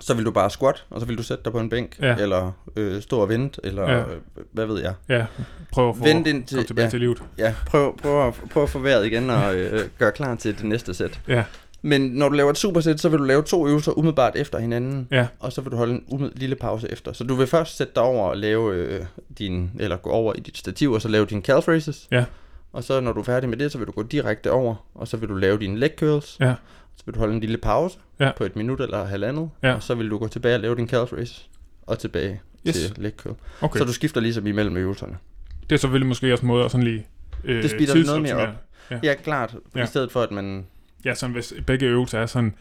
så vil du bare squat, og så vil du sætte dig på en bænk, Ja. eller øh, stå og vente, eller Ja. ja. øh, hvad ved jeg. Ja, prøv at få Vent komme indtil- tilbage ja. til livet. Ja, prøv, prøv, at, prøv at få vejret igen og øh, gøre klar til det næste sæt. Ja. Men når du laver et supersæt, så vil du lave to øvelser umiddelbart efter hinanden, Ja. og så vil du holde en umiddel- lille pause efter. Så du vil først sætte dig over og lave øh, din, eller gå over i dit stativ, og så lave dine calf raises. Ja. Og så når du er færdig med det, så vil du gå direkte over, og så vil du lave dine leg curls. Ja. Så vil du holde en lille pause Ja. på et minut eller halvandet, Ja. og så vil du gå tilbage og lave din calf raises, og tilbage Yes. til leg curl. Okay. Så du skifter ligesom imellem øvelserne. Det er selvfølgelig måske også en måde at sådan lige... Øh, Det speeder det noget mere op. tidsoptimere. Ja. Ja, klart. Ja. I stedet for, at man Ja, sådan hvis begge øvelser er sådan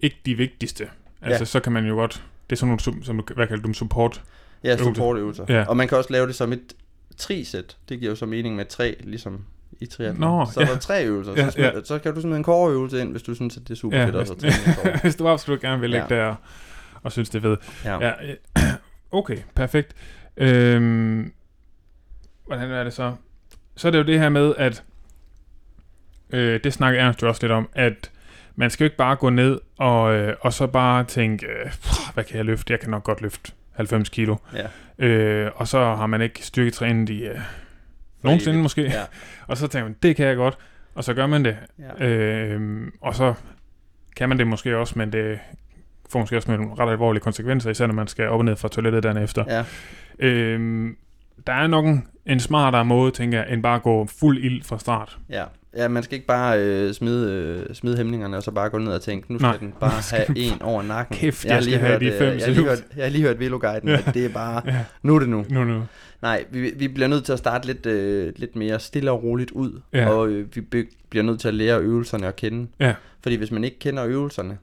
ikke de vigtigste. Altså, ja. Ja. så kan man jo godt... Det er sådan nogle, som, som hvad kalder du dem, support? Ja, Øvelser. supportøvelser. Ja. Ja. Og man kan også lave det som et trisæt. Det giver jo så mening med tre, ligesom i triathlon. Nå, så ja. er der tre øvelser. Ja, så, smid, ja. så kan du smide en koreøvelse ind, hvis du synes, at det er super fedt hvis, også at træne en core. hvis du absolut gerne vil lægge ja. Ja. der og, og synes, det er fedt. Ja. Ja. øh, okay, perfekt. Øhm, hvordan er det så? Så er det jo det her med, at... Øh, det snakker Ernst jo også lidt om, at man skal jo ikke bare gå ned og, øh, og så bare tænke, øh, "Pff, hvad kan jeg løfte? Jeg kan nok godt løfte 90 kilo. ja. Øh, og så har man ikke styrketrænet i øh, nogensinde evigt. måske. Ja. Og så tænker man, det kan jeg godt. Og så gør man det. ja. Øh, og så kan man det måske også, men det får måske også nogle ret alvorlige konsekvenser, især når man skal op og ned fra toilettet Øhm, dagen efter. ja. Ja. Øh, der er nok en, en smartere måde, tænker jeg, end bare at gå fuld ild fra start. ja. Ja, man skal ikke bare øh, smide, øh, smide hæmningerne og så bare gå ned og tænke, nu skal Nej, den nu bare skal have den en over nakken. Kæft, har jeg skal have de øh, fem jeg, har lige salut. hørt, jeg har lige hørt Veloguiden, Ja. ja. at det er bare, Ja. nu er det nu. Nu, nu. Nej, vi, vi bliver nødt til at starte lidt, øh, lidt mere stille og roligt ud, Ja. ja. og øh, vi be, bliver nødt til at lære øvelserne at kende. Ja. Fordi hvis man ikke kender øvelserne,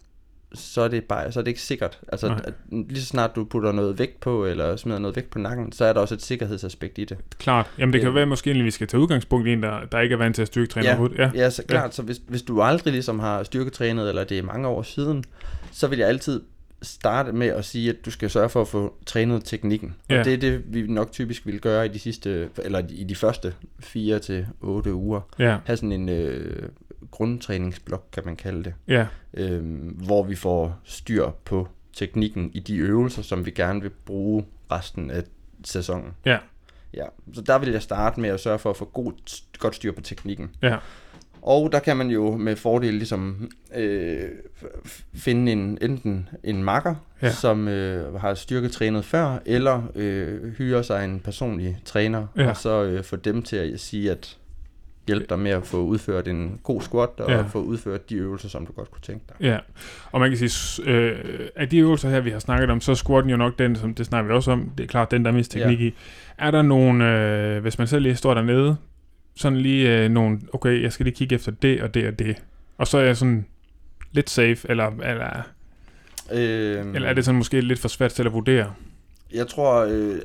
så er det, bare, så er det ikke sikkert. Altså, Nej. at, lige så snart du putter noget vægt på, eller smider noget vægt på nakken, så er der også et sikkerhedsaspekt i det. Klart. Jamen, det kan Øh. være måske, egentlig, vi skal tage udgangspunkt i en, der, der ikke er vant til at styrketræne Ja. overhovedet. Ja. Ja, så klart, så hvis, hvis du aldrig ligesom har styrketrænet, eller det er mange år siden, så vil jeg altid starte med at sige, at du skal sørge for at få trænet teknikken. Ja. Ja. Og det er det, vi nok typisk vil gøre i de sidste, eller i de første 4 til 8 uger. Ja. Have sådan en øh, grundtræningsblok, kan man kalde det, ja. øh, hvor vi får styr på teknikken i de øvelser, som vi gerne vil bruge resten af sæsonen. Ja. Ja, så der vil jeg starte med at sørge for at få god, godt styr på teknikken. Ja. Og der kan man jo med fordel ligesom øh, f- finde en, enten en makker, Ja. ja. som øh, har styrketrænet før, eller øh, hyre sig en personlig træner, Ja. ja. og så øh, få dem til at sige, at hjælpe dig med at få udført en god squat, og Ja. ja. få udført de øvelser, som du godt kunne tænke dig. Ja, og man kan sige, s- øh, af de øvelser her, vi har snakket om, så er squatten jo nok den, som det snakker vi også om, det er klart den, der er mest teknik ja. i. Er der nogle, øh, hvis man selv lige står dernede, sådan lige øh, nogle, okay, jeg skal lige kigge efter det og det og det, og så er jeg sådan lidt safe, eller, eller, mm. Øh, eller er det sådan måske lidt for svært til at vurdere? Jeg tror, øh,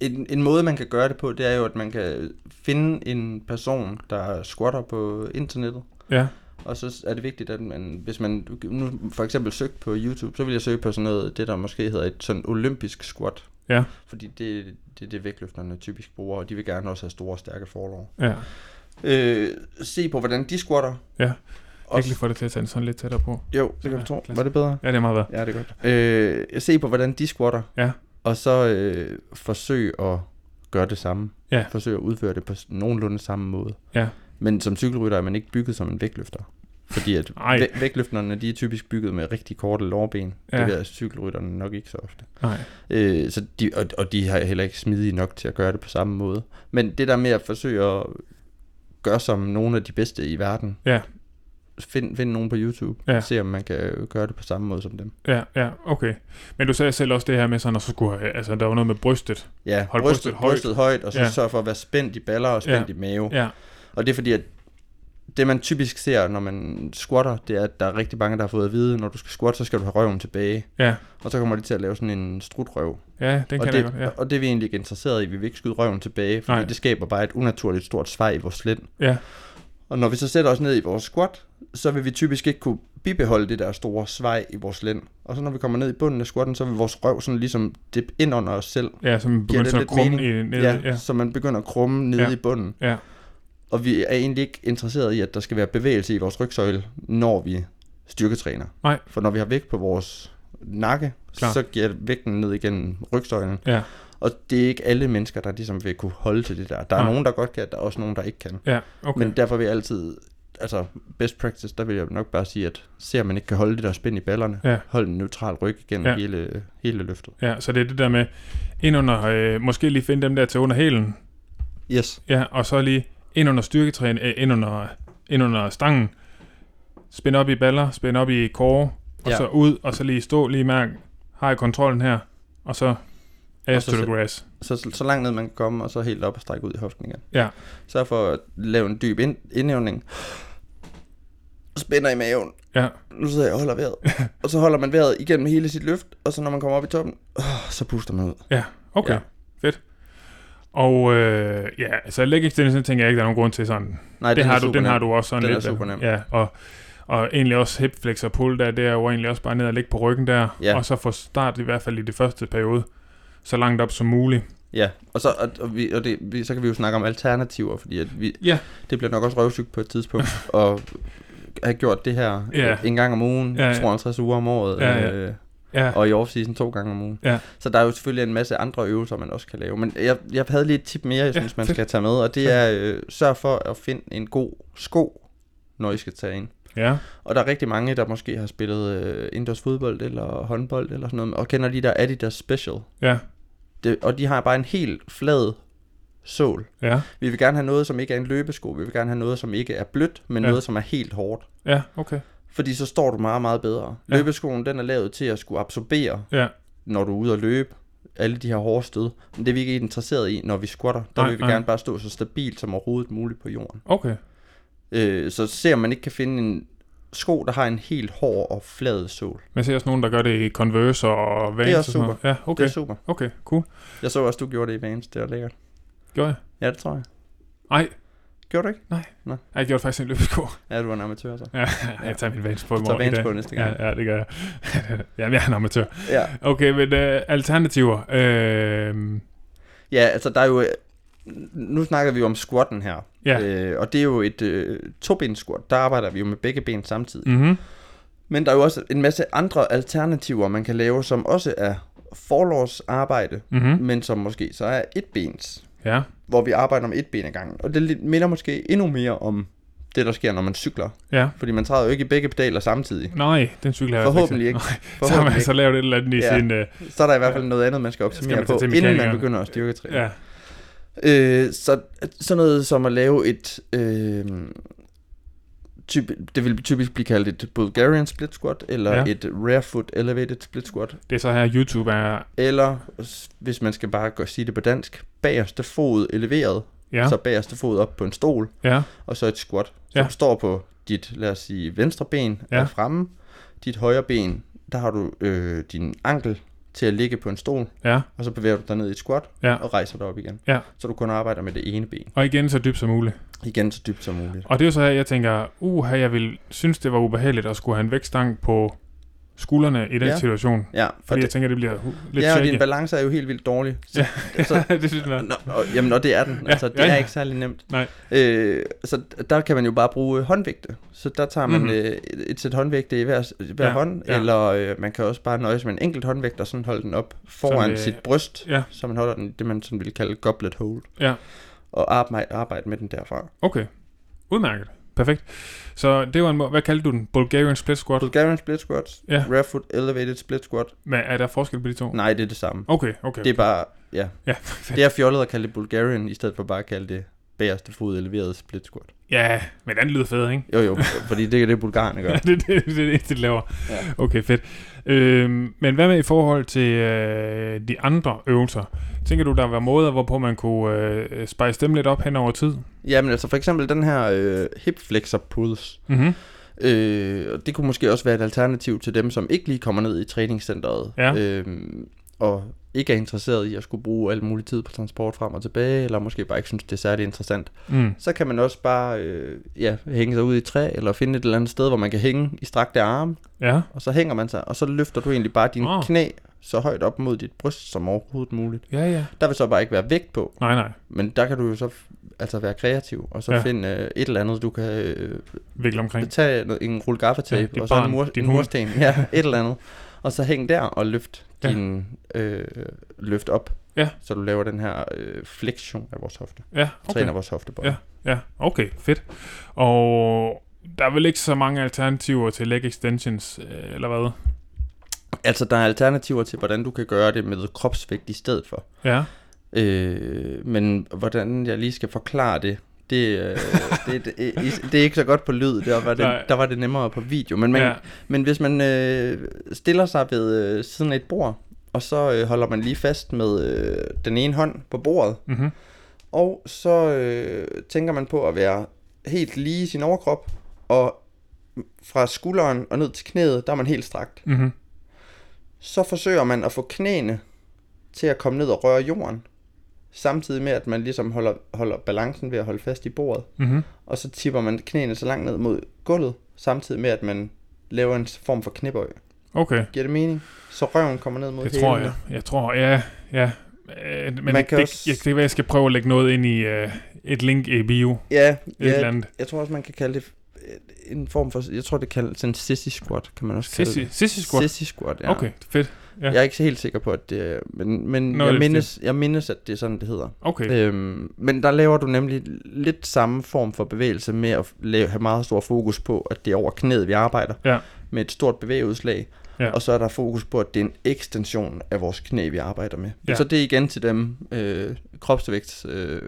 en, en måde, man kan gøre det på, det er jo, at man kan finde en person, der squatter på internettet. Ja, Og så er det vigtigt, at man, hvis man nu for eksempel søgte på YouTube, så vil jeg søge på sådan noget, det der måske hedder et sådan olympisk squat. Ja. Fordi det, det er det, vægtløfterne typisk bruger, og de vil gerne også have store, stærke forlov. ja. Øh, se på, hvordan de squatter. Ja. Og, Jeg kan lige få det til at tage den sådan lidt tættere på. jo, det kan Ja, du tro. klasse. Var det bedre? Ja, det er meget værd. Ja, det er godt. Øh, se på, hvordan de squatter. Ja. Og så øh, forsøg at gøre det samme. Ja. Forsøg at udføre det på s- nogenlunde samme måde. Ja. Men som cykelrytter er man ikke bygget som en vægtløfter. Fordi at Ej. væ- vægtløfterne, de er typisk bygget med rigtig korte lårben. Ja. Ja. Det ved cykelrytterne nok ikke så ofte. Nej. Øh, så de, og, og de har heller ikke smidige nok til at gøre det på samme måde. Men det der med at forsøge at gøre som nogle af de bedste i verden. Ja. Find, find nogen på YouTube. Ja. Se om man kan gøre det på samme måde som dem. Ja, ja, okay. Men du sagde selv også det her med sådan, at så skulle, have- altså der var noget med brystet. Ja, Hold Hold brystet brystet, højt. brystet højt, og så Ja. ja. sørg for at være spændt i baller og spændt ja. i mave. Ja. Ja, Og det er fordi, at det man typisk ser, når man squatter, det er, at der er rigtig mange, der har fået at vide, når du skal squatte, så skal du have røven tilbage. ja, Og så kommer de til at lave sådan en strutrøv. ja, den Og kan jeg godt. det, Ja. og det er vi egentlig ikke interesseret i. Vi vil ikke skyde røven tilbage, fordi Nej. Nej. det skaber bare et unaturligt stort svej i vores lænd. ja, Og når vi så sætter os ned i vores squat, så vil vi typisk ikke kunne bibeholde det der store svej i vores lænd. Og så når vi kommer ned i bunden af squatten, så vil vores røv sådan ligesom dippe ind under os selv. ja, som begyndte det sådan at lidt krumme mening? i, ned, Ja, ja. ja, så man begynder at krumme nede Ja. ja. i bunden. Ja, Og vi er egentlig ikke interesseret i, at der skal være bevægelse i vores rygsøjle, når vi styrketræner. Nej. For når vi har vægt på vores nakke, Klar. Klar. så giver vægten ned igennem rygsøjlen. ja, Og det er ikke alle mennesker, der ligesom vil kunne holde til det der. Der er Nej. Nej. nogen, der godt kan, der er også nogen, der ikke kan. Okay. ja, okay. Men derfor vil jeg altid, altså best practice, der vil jeg nok bare sige, at ser man ikke kan holde det der spænd i ballerne, Ja. hold en neutral ryg igennem Ja. ja. hele, hele løftet. Ja, så det er det der med, ind under, øh, måske lige finde dem der til under hælen, Yes. ja, og så lige ind under styrketræen, øh, ind, under, ind under stangen, spænd op i baller, spænd op i kåre, og ja. Ja. så ud, og så lige stå, lige mærke, har jeg kontrollen her, og så ass så to the sæt- grass. Så, så langt ned man kan komme, og så helt op og strække ud i hoften igen. Ja, Sørg for at lave en dyb ind- indævning. Spænder i maven. ja, Nu sidder jeg og holder vejret. Og så holder man vejret igennem hele sit løft, og så når man kommer op i toppen, øh, så puster man ud. ja, okay, ja. Ja. fedt. Og øh, ja, altså leg extension tænker jeg ikke, der er nogen grund til sådan Nej, det den har er du, super den har nem. du også sådan Den er lidt. super nem. Ja, og, og egentlig også hip flex og pull der, det er jo egentlig også bare ned og ligge på ryggen der, Ja. og så få start i hvert fald i det første periode, så langt op som muligt. Ja, og, så, og, og, vi, og det, vi, så kan vi jo snakke om alternativer, fordi at vi, Ja. det bliver nok også røvsygt på et tidspunkt, og have gjort det her Ja. øh, en gang om ugen, Ja, ja. ja, 52 uger om året, Ja, ja. Øh, Ja, og i off-season to gange om ugen. Ja. Så der er jo selvfølgelig en masse andre øvelser, man også kan lave. Men jeg, jeg havde lige et tip mere, jeg Ja, synes, man fedt. skal tage med, og det er øh, sørg for at finde en god sko, når I skal tage ind. ja, Og der er rigtig mange, der måske har spillet øh, indendørs fodbold eller håndbold eller sådan noget, og kender de der Adidas Special. ja, Det, og de har bare en helt flad sål. Ja, Vi vil gerne have noget, som ikke er en løbesko. Vi vil gerne have noget, som ikke er blødt, men Ja. ja. noget, som er helt hårdt. ja, okay. Fordi så står du meget, meget bedre. Ja. Ja. Løbeskoen, den er lavet til at skulle absorbere, Ja, når du er ude at løbe, alle de her hårde stød. Men det er vi ikke interesseret i, når vi squatter. Nej, Der nej, vil vi nej. gerne bare stå så stabilt som overhovedet muligt på jorden. okay. Øh, så ser man ikke kan finde en sko, der har en helt hård og flad sål. Okay. Man ser også nogen, der gør det i Converse og Vans Det er og også sådan noget. Ja, Det okay, er super. okay, cool. Jeg så også, du gjorde det i Vans. Det var lækkert. Gjorde jeg? Ja, det tror jeg. Ej, Gjorde du ikke? ej, jeg gjorde faktisk en løbesko. Ja, du var en amatør så. Ja, jeg tager min Vans på i Så morgen i Vans dag. på næste gang. Ja, ja, det gør jeg. Jamen, jeg er en amatør. Ja. Okay, men øh, alternativer. Øh, ja, altså der er jo... Nu snakker vi jo om squatten her. ja, Øh, og det er jo et øh, tobensquat. Der arbejder vi jo med begge ben samtidig. mhm. Men der er jo også en masse andre alternativer, man kan lave, som også er forlovsarbejde, Mhm. men som måske så er et bens, ja, hvor vi arbejder om et ben ad gangen. Og det lidt- minder måske endnu mere om det, der sker, når man cykler. ja. Fordi man træder jo ikke i begge pedaler samtidig. Nej, den cykel har jeg Forhåbentlig ikke. ikke. Nej, så har Forhåbentlig man så lavet et eller andet i ja. Ja. sin... Øh, ikke. Så er der i hvert fald noget andet, man skal Skal optimere man tage på, til inden man mekanikeren? begynder at styrketræne. ja. Øh, så sådan noget som at lave et... Øh, typ, det vil typisk blive kaldt et Bulgarian split squat, eller Ja. ja. et Rarefoot elevated split squat, Det er så her, YouTube er... eller s- hvis man skal bare gå sige det på dansk, bagerste fod eleveret, Ja, ja. så. så bagerste fod op på en stol, ja, og så et squat, som Ja. står på dit, lad os sige, venstre ben Ja. ja. er fremme, dit højre ben, der har du øh, din ankel til at ligge på en stol, ja. og så bevæger du dig ned i et squat, Ja. og rejser dig op igen. Ja. Så du kun arbejder med det ene ben. Og igen så dybt som muligt. Igen så dybt som muligt. Og det er jo så her, jeg tænker, uha, jeg vil synes, det var ubehageligt at skulle have en vægtstang på skuldrene i den ja. Ja. situation. Ja, og Fordi det, jeg det, tænker, det bliver hu- lidt ja og din shaky. balance er jo helt vildt dårlig. Så, Ja, så, det synes jeg. Nå, og, jamen, og det er den. Ja, Altså, det ja, ja. er ikke særlig nemt. Nej. Øh, så der kan man jo bare bruge øh, håndvægte. Så der tager man Mhm. mm-hmm. øh, et sæt håndvægte i hver, i hver Ja, ja, hånd, ja. ja. eller øh, man kan også bare nøjes med en enkelt håndvægt og sådan holde den op foran øh, så, øh, sit bryst, ja. så man holder den i det, man sådan ville kalde goblet hold. Ja. Og arbejde, arbejde med den derfra. Okay, udmærket. Perfekt. Så det var en måde, hvad kaldte du den? Bulgarian split squat? Bulgarian split squats, Ja. ja. rear foot elevated split squat. Men er der forskel på de to? Nej, det er det samme. Okay, okay. Det er bare, ja. Ja, Det er fjollet at kalde det Bulgarian, i stedet for bare at kalde det bagerste fod eleveret split squat. ja, men den lyder fed, ikke? Jo jo, fordi det er det, bulgarerne gør. Ja, det, det, det er det, eneste, de laver. Ja. Okay, fedt. Øhm, men hvad med i forhold til øh, de andre øvelser? Tænker du, der var måder, hvorpå man kunne øh, spice dem lidt op hen over tid? Jamen altså for eksempel den her øh, hip flexor pulls. Mm-hmm. Øh, og det kunne måske også være et alternativ til dem, som ikke lige kommer ned i træningscenteret. Ja. Øh, og ikke er interesseret i at skulle bruge al mulig tid på transport frem og tilbage, eller måske bare ikke synes, det er særlig interessant. Mm. Så kan man også bare øh, ja, hænge sig ud i et træ, eller finde et eller andet sted, hvor man kan hænge i strakte arme, Ja, og så hænger man sig, og så løfter du egentlig bare dine Åh. oh. knæ så højt op mod dit bryst som overhovedet muligt. ja, ja. Der vil så bare ikke være vægt på, Nej, nej. Men der kan du jo så f- altså være kreativ, og så Ja. ja. finde øh, et eller andet, du kan øh, Vikle omkring. tage noget, en rulle gaffatape, Ja, dit og så barn, en, mur, din en hund. mursten, ja, et eller andet. Og så hæng der og løft Ja. ja. din øh, løft op, Ja. så du laver den her øh, flektion af vores hofte. Ja, Okay. okay. Træner vores hoftebøj. Ja. Ja, okay, fedt. Og der er vel ikke så mange alternativer til leg extensions, øh, eller hvad? Altså, der er alternativer til, hvordan du kan gøre det med kropsvægt i stedet for. Ja, Øh, men hvordan jeg lige skal forklare det, det, øh, det, det, det, det er ikke så godt på lyd, der var Nej. det, der var det nemmere på video. Men, man, Ja. ja. men hvis man øh, stiller sig ved øh, siden af et bord, og så øh, holder man lige fast med øh, den ene hånd på bordet, mhm. og så øh, tænker man på at være helt lige i sin overkrop, og fra skulderen og ned til knæet, der er man helt strakt. Mhm. Så forsøger man at få knæene til at komme ned og røre jorden, samtidig med at man ligesom holder, holder balancen ved at holde fast i bordet. Mhm. Og så tipper man knæene så langt ned mod gulvet, samtidig med at man laver en form for knæbøj. Okay, Giver det mening? Så røven kommer ned mod det tror hælene. jeg. Jeg tror, ja, ja. Øh, Men Man det, kan det, også- jeg, det kan være, jeg skal prøve at lægge noget ind i øh, et link i bio. Ja, Et eller ja andet. jeg tror også, man kan kalde det øh, en form for... Jeg tror, det kaldes en sissy squat, kan man også kalde Sissy, det. sissy squat. Sissy squat, ja. Okay, fedt. ja. Jeg er ikke så helt sikker på, at det er, men, men Noget i jeg, den mindes, jeg mindes, at det er sådan, det hedder. Okay. Øhm, men der laver du nemlig lidt samme form for bevægelse med at lave, have meget stor fokus på, at det er over knæet, vi arbejder Ja. med et stort bevægeudslag. Ja. Ja. Og så er der fokus på, at det er en ekstension af vores knæ, vi arbejder med. Ja. Ja. Så det er igen til dem, øh, kropsvægt øh,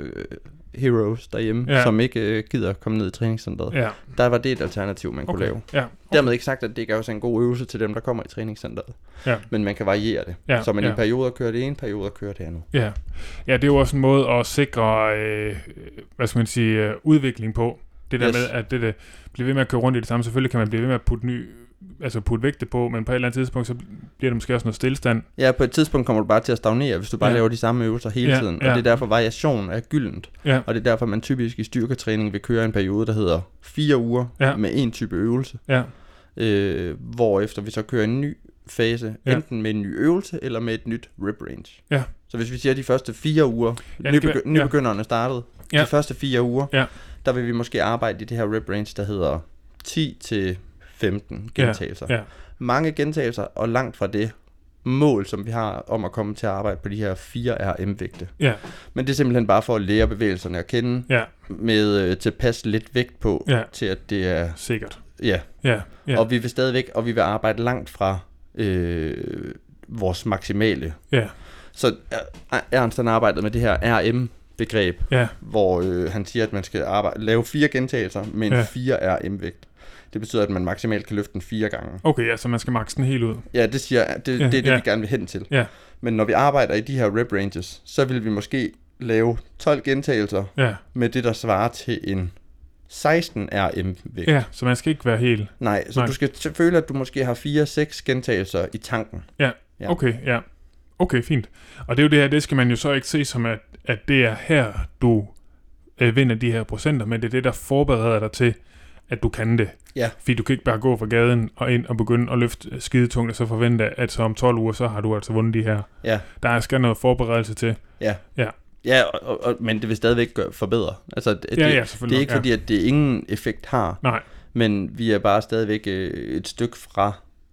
heroes derhjemme, Ja. ja. som ikke øh, gider at komme ned i træningscenteret. Ja. Ja, Der var det et alternativ, man okay. kunne okay. lave. Ja, Dermed ikke sagt, at det ikke er også en god øvelse til dem, der kommer i træningscenteret. Ja. Men man kan variere det. Ja, Så man ja. i perioder kører det ene, perioder kører det andet. ja. ja, det er jo også en måde at sikre, øh, hvad skal man sige, øh, udvikling på. Det der yes. Yes. med, at det, det bliver ved med at køre rundt i det samme. Selvfølgelig kan man blive ved med at putte ny, altså putte vægte på, men på et eller andet tidspunkt, så bliver det måske også noget stillestand. Ja, på et tidspunkt kommer du bare til at stagnere, hvis du bare Ja. ja. laver de samme øvelser hele Ja, ja, tiden. Og ja. det er derfor variation er gyldent. Ja. Og det er derfor, man typisk i styrketræning vil køre en periode, der hedder fire uger Ja. med en type øvelse. Ja, Øh, hvorefter vi så kører en ny fase, Ja. ja. enten med en ny øvelse eller med et nyt rep range. Ja. Så hvis vi siger, at de første fire uger, Ja, ja, det kan- nybegy- ja. nybegynderne startede, Ja. ja. de første fire uger, Ja. der vil vi måske arbejde i det her rep range, der hedder 10-15 gentagelser ja, mange gentagelser, og langt fra det mål, som vi har om at komme til at arbejde på de her 4 RM-vægte. ja, Men det er simpelthen bare for at lære bevægelserne at kende, ja, med øh, tilpas lidt vægt på, Ja. til at det er... sikkert. Ja. Ja, ja, ja, og vi vil stadigvæk, og vi vil arbejde langt fra øh, vores maksimale. ja, Så øh, Ernst han arbejdede med det her RM-begreb, ja, hvor øh, han siger, at man skal arbejde, lave fire gentagelser med en Ja. ja. 4 RM-vægt. Det betyder, at man maksimalt kan løfte den fire gange. okay, ja, så man skal makse den helt ud. Ja, det, siger, det, Ja, det er det, ja. vi gerne vil hen til. Ja. Men når vi arbejder i de her rep ranges, så vil vi måske lave 12 gentagelser Ja, med det, der svarer til en 16 RM vægt. ja, så man skal ikke være helt, Nej, så Nej. Nej. du skal t- føle, at du måske har 4-6 gentagelser i tanken. Ja. Okay, ja. Okay, fint. Og det er jo det her, det skal man jo så ikke se som, at, at det er her, du øh, vinder de her procenter, men det er det, der forbereder dig til, at du kan det. Ja. Fordi du kan ikke bare gå fra gaden og ind og begynde at løfte skidetungt, og så forvente, at så om 12 uger, så har du altså vundet de her. Ja. Der skal noget forberedelse til. Ja, og, og, og, men det vil stadigvæk gøre, forbedre. Altså, det, ja, det- ja, det selvfølgelig. er ikke ja. fordi, at det ingen effekt har, Nej, men vi er bare stadigvæk øh, et stykke fra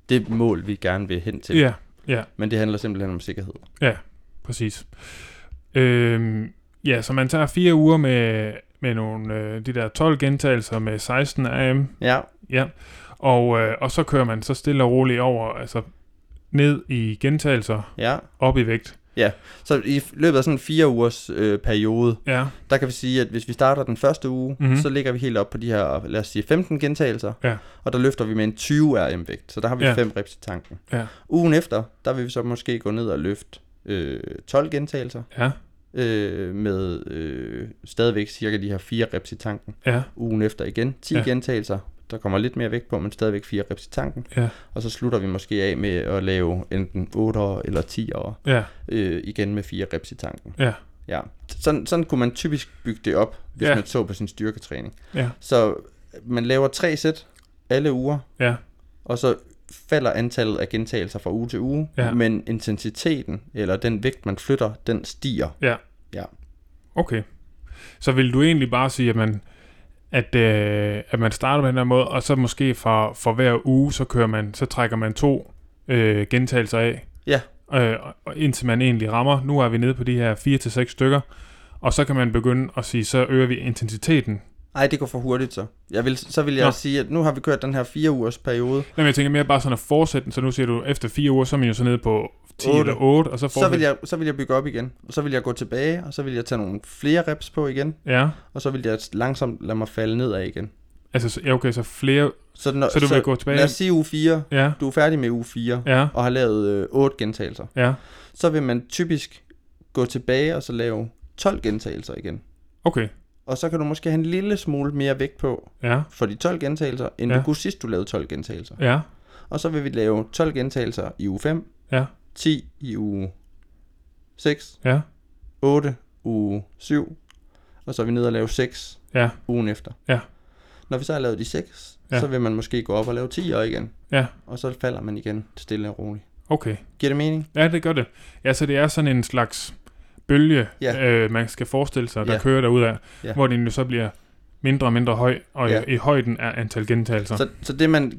det mål, vi gerne vil hen til. ja, Men det handler simpelthen om sikkerhed. præcis. Øhm, ja, så man tager fire uger med, med nogle, øh, de der 12 gentagelser med 16 AM, Ja, Ja, og, øh, og så kører man så stille og roligt over, altså ned i gentagelser, ja. op i vægt. Så i f- løbet af sådan en fire ugers øh, periode, Ja, der kan vi sige, at hvis vi starter den første uge, Mhm. mm-hmm. så ligger vi helt op på de her, lad os sige, 15 gentagelser, Ja. og der løfter vi med en 20 RM-vægt, så der har vi Ja. 5 reps i tanken. Ja. Ugen efter, der vil vi så måske gå ned og løfte øh, 12 gentagelser, ja, øh, med øh, stadigvæk cirka de her 4 reps i tanken. ja, Ugen efter igen 10 Ja. ja. gentagelser, der kommer lidt mere vægt på, men stadigvæk 4 reps i tanken. Ja. Og så slutter vi måske af med at lave enten 8'er eller 10'er ja, øh, igen med fire reps i tanken. Ja. ja. Sådan, sådan kunne man typisk bygge det op, hvis Ja. ja. man så på sin styrketræning. Ja. Så man laver tre sæt alle uger, ja, og så falder antallet af gentagelser fra uge til uge, Ja. men intensiteten, eller den vægt, man flytter, den stiger. okay. Så vil du egentlig bare sige, at man, at, øh, at man starter på den her måde, og så måske fra, for hver uge, så kører man, så trækker man to øh, gentagelser af. Ja. Øh, og- og indtil man egentlig rammer, nu er vi nede på de her 4 til seks stykker, og så kan man begynde at sige, så øger vi intensiteten. Ej, det går for hurtigt så. Jeg vil, så vil jeg Nå. sige, at nu har vi kørt den her fire ugers periode, Nej, men jeg tænker mere bare sådan at fortsætte den, så nu siger du, efter fire uger, så er man jo så nede på 10 Otte. eller 8, og så så fortsætter vil, jeg, så vil jeg bygge op igen, og så vil jeg gå tilbage, og så vil jeg tage nogle flere reps på igen, Ja, og så vil jeg langsomt lade mig falde nedad igen. altså, så- ja, okay, så flere... Så, når, Så du vil gå tilbage... Lad os sige uge 4. Ja, Du er færdig med uge 4 ja, og har lavet øh, 8 gentagelser. ja. Så vil man typisk gå tilbage og så lave 12 gentagelser igen. Okay, Og så kan du måske have en lille smule mere vægt på ja, for de 12 gentagelser, end Ja. ja. du kunne sidst, du lavede 12 gentagelser. ja, Og så vil vi lave 12 gentagelser i uge 5, Ja. 10 i uge 6, ja, 8 uge 7, og så er vi nede og lave 6 Ja. ugen efter. Ja. Når vi så har lavet de 6, Ja. ja. så vil man måske gå op og lave 10 igen. Ja. Og så falder man igen stille og roligt. okay. Giver det mening? Ja, det gør det. Ja, så det er sådan en slags bølge, Ja. øh, man skal forestille sig, der Ja. kører derudad, Ja. hvor den jo så bliver mindre og mindre høj, og Ja. i, i højden er antal gentagelser. Så, så, så det man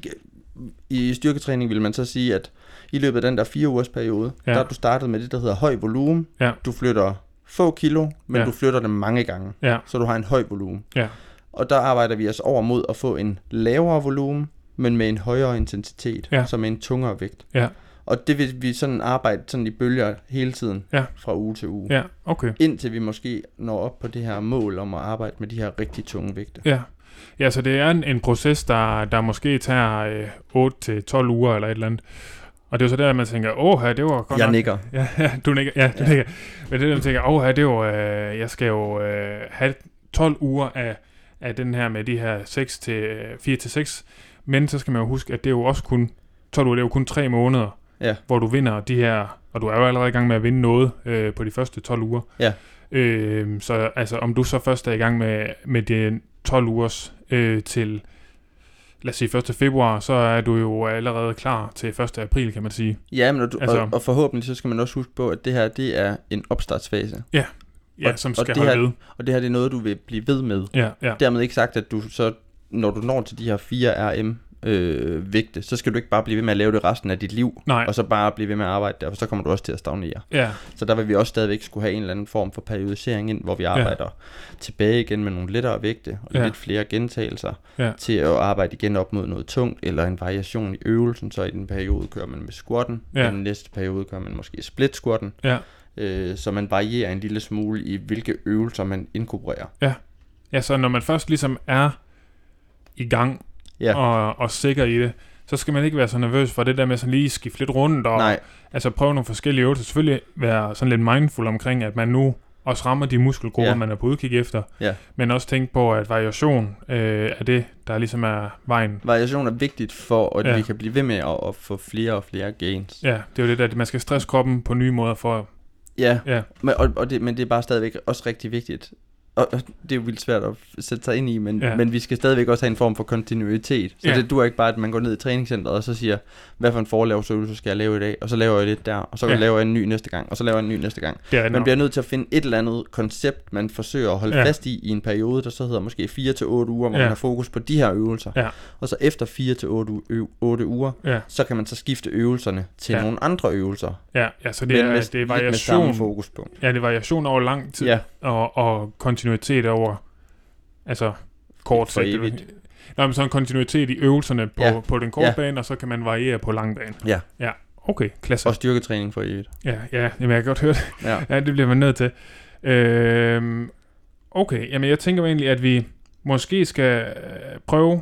i styrketræning vil man så sige, at i løbet af den der fire ugers periode, Ja. ja. der er du startet med det, der hedder høj volumen. Ja. Du flytter få kilo, men Ja. ja. du flytter dem mange gange. Ja. Så du har en høj volumen. Ja. Og der arbejder vi os over mod at få en lavere volumen, men med en højere intensitet, Ja. ja. så med en tungere vægt. Ja. Og det vil vi sådan arbejde sådan i bølger hele tiden, Ja. fra uge til uge. Ja, okay. Indtil vi måske når op på det her mål om at arbejde med de her rigtig tunge vægte. Ja. Ja, så det er en, en proces, der, der måske tager øh, 8-12 uger eller et eller andet. Og det er jo så der, man tænker, åh, det var godt Jeg nok nikker. Ja, ja, du nikker. Ja, du ja. Ja. nikker. Men det, man tænker, åh, det er jo, øh, jeg skal jo øh, have 12 uger af, af den her med de her 6 til 4 til 6. Men så skal man jo huske, at det er jo også kun 12 uger, det er jo kun 3 måneder, Ja. hvor du vinder de her, og du er jo allerede i gang med at vinde noget øh, på de første 12 uger. Ja. Øh, så altså, om du så først er i gang med, med de 12 ugers øh, til, lad os sige 1. februar, så er du jo allerede klar til 1. april, kan man sige. Ja, men og, du, Altså- altså, og, og forhåbentlig så skal man også huske på, at det her det er en opstartsfase. Ja, Og- som og skal det holde her- ved. Og det her det er noget, du vil blive ved med. Ja, ja. Dermed ikke sagt, at du så, når du når til de her 4 RM øh, vægte, så skal du ikke bare blive ved med at lave det resten af dit liv, Nej, og så bare blive ved med at arbejde der, for så kommer du også til at stagnere. ja, Så der vil vi også stadigvæk skulle have en eller anden form for periodisering ind, hvor vi arbejder ja. tilbage igen med nogle lettere vægte og Ja. ja. lidt flere gentagelser Ja. til at arbejde igen op mod noget tungt eller en variation i øvelsen. Så i den periode kører man med squatten, Ja. ja. den næste periode kører man måske split squatten, Ja. øh, så man varierer en lille smule i, hvilke øvelser man inkorporerer. ja. Så når man først ligesom er i gang Ja. og, og sikker i det, så skal man ikke være så nervøs for det der med sådan lige at skifte lidt rundt og Nej, altså prøve nogle forskellige øvelser. Selvfølgelig være sådan lidt mindful omkring, at man nu også rammer de muskelgrupper, ja. Ja. man er på udkig efter. Ja. Men også tænke på, at variation øh, er det, der ligesom er vejen. variation er vigtigt for, at Ja. ja. vi kan blive ved med at, at få flere og flere gains. Ja, det er jo det der, at man skal stresse kroppen på nye måder for... Ja, Ja. Men, og, og det, men det er bare stadigvæk også rigtig vigtigt. Og og det er jo vildt svært at f- sætte sig ind i, men, Ja. ja. men vi skal stadigvæk også have en form for kontinuitet. Så Ja. ja. det duer ikke bare, at man går ned i træningscenteret og så siger, hvad for en forlavsøvelse skal jeg lave i dag? Og så laver jeg lidt der, og så Ja. ja. laver jeg en ny næste gang, og så laver jeg en ny næste gang. Det er Man nok. bliver nødt til at finde et eller andet koncept, man forsøger at holde Ja. ja. fast i i en periode, der så hedder måske 4 til 8 uger, hvor Ja. ja. man har fokus på de her øvelser. Ja. Og så efter 4 til 8 uger, Ja, så kan man så skifte øvelserne til Ja. ja. nogle andre øvelser. ja, ja, så det er, det er lidt med samme variation. fokuspunkt. Ja, det er variation over lang tid. Ja. og, og kontinuitet over, altså kort For sigt. eller- evigt. Nej, men så en kontinuitet i øvelserne på, ja. Ja. på den korte ja. Ja. bane, og så kan man variere på lang bane. Ja. Ja, okay, klasse. Og styrketræning for evigt. Ja, ja, jamen, jeg kan godt høre det. Ja. Ja, det bliver man nødt til. Øhm, okay, jamen jeg tænker jo egentlig, at vi måske skal øh, prøve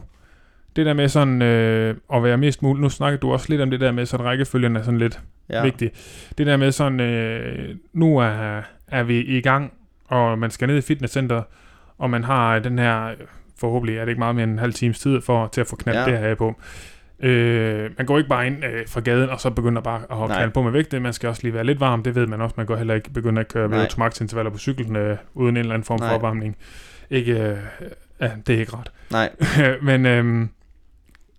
det der med sådan øh, at være mest muligt. Nu snakkede du også lidt om det der med, sådan rækkefølgen er sådan lidt ja. Ja. vigtig. Det der med sådan, øh, nu er, er vi i gang, og man skal ned i fitnesscenteret, og man har den her, øh, forhåbentlig er det ikke meget mere end en halv times tid for, til at få knap ja. Ja. det her af på. Øh, man går ikke bare ind øh, fra gaden, og så begynder bare at Nej. knalde på med vægte. Man skal også lige være lidt varm, det ved man også. Man går heller ikke begynde at køre Nej. ved intervaller på cyklen, øh, uden en eller anden form for Nej. opvarmning. Ikke, øh, ja, det er ikke ret. Nej, Men øhm,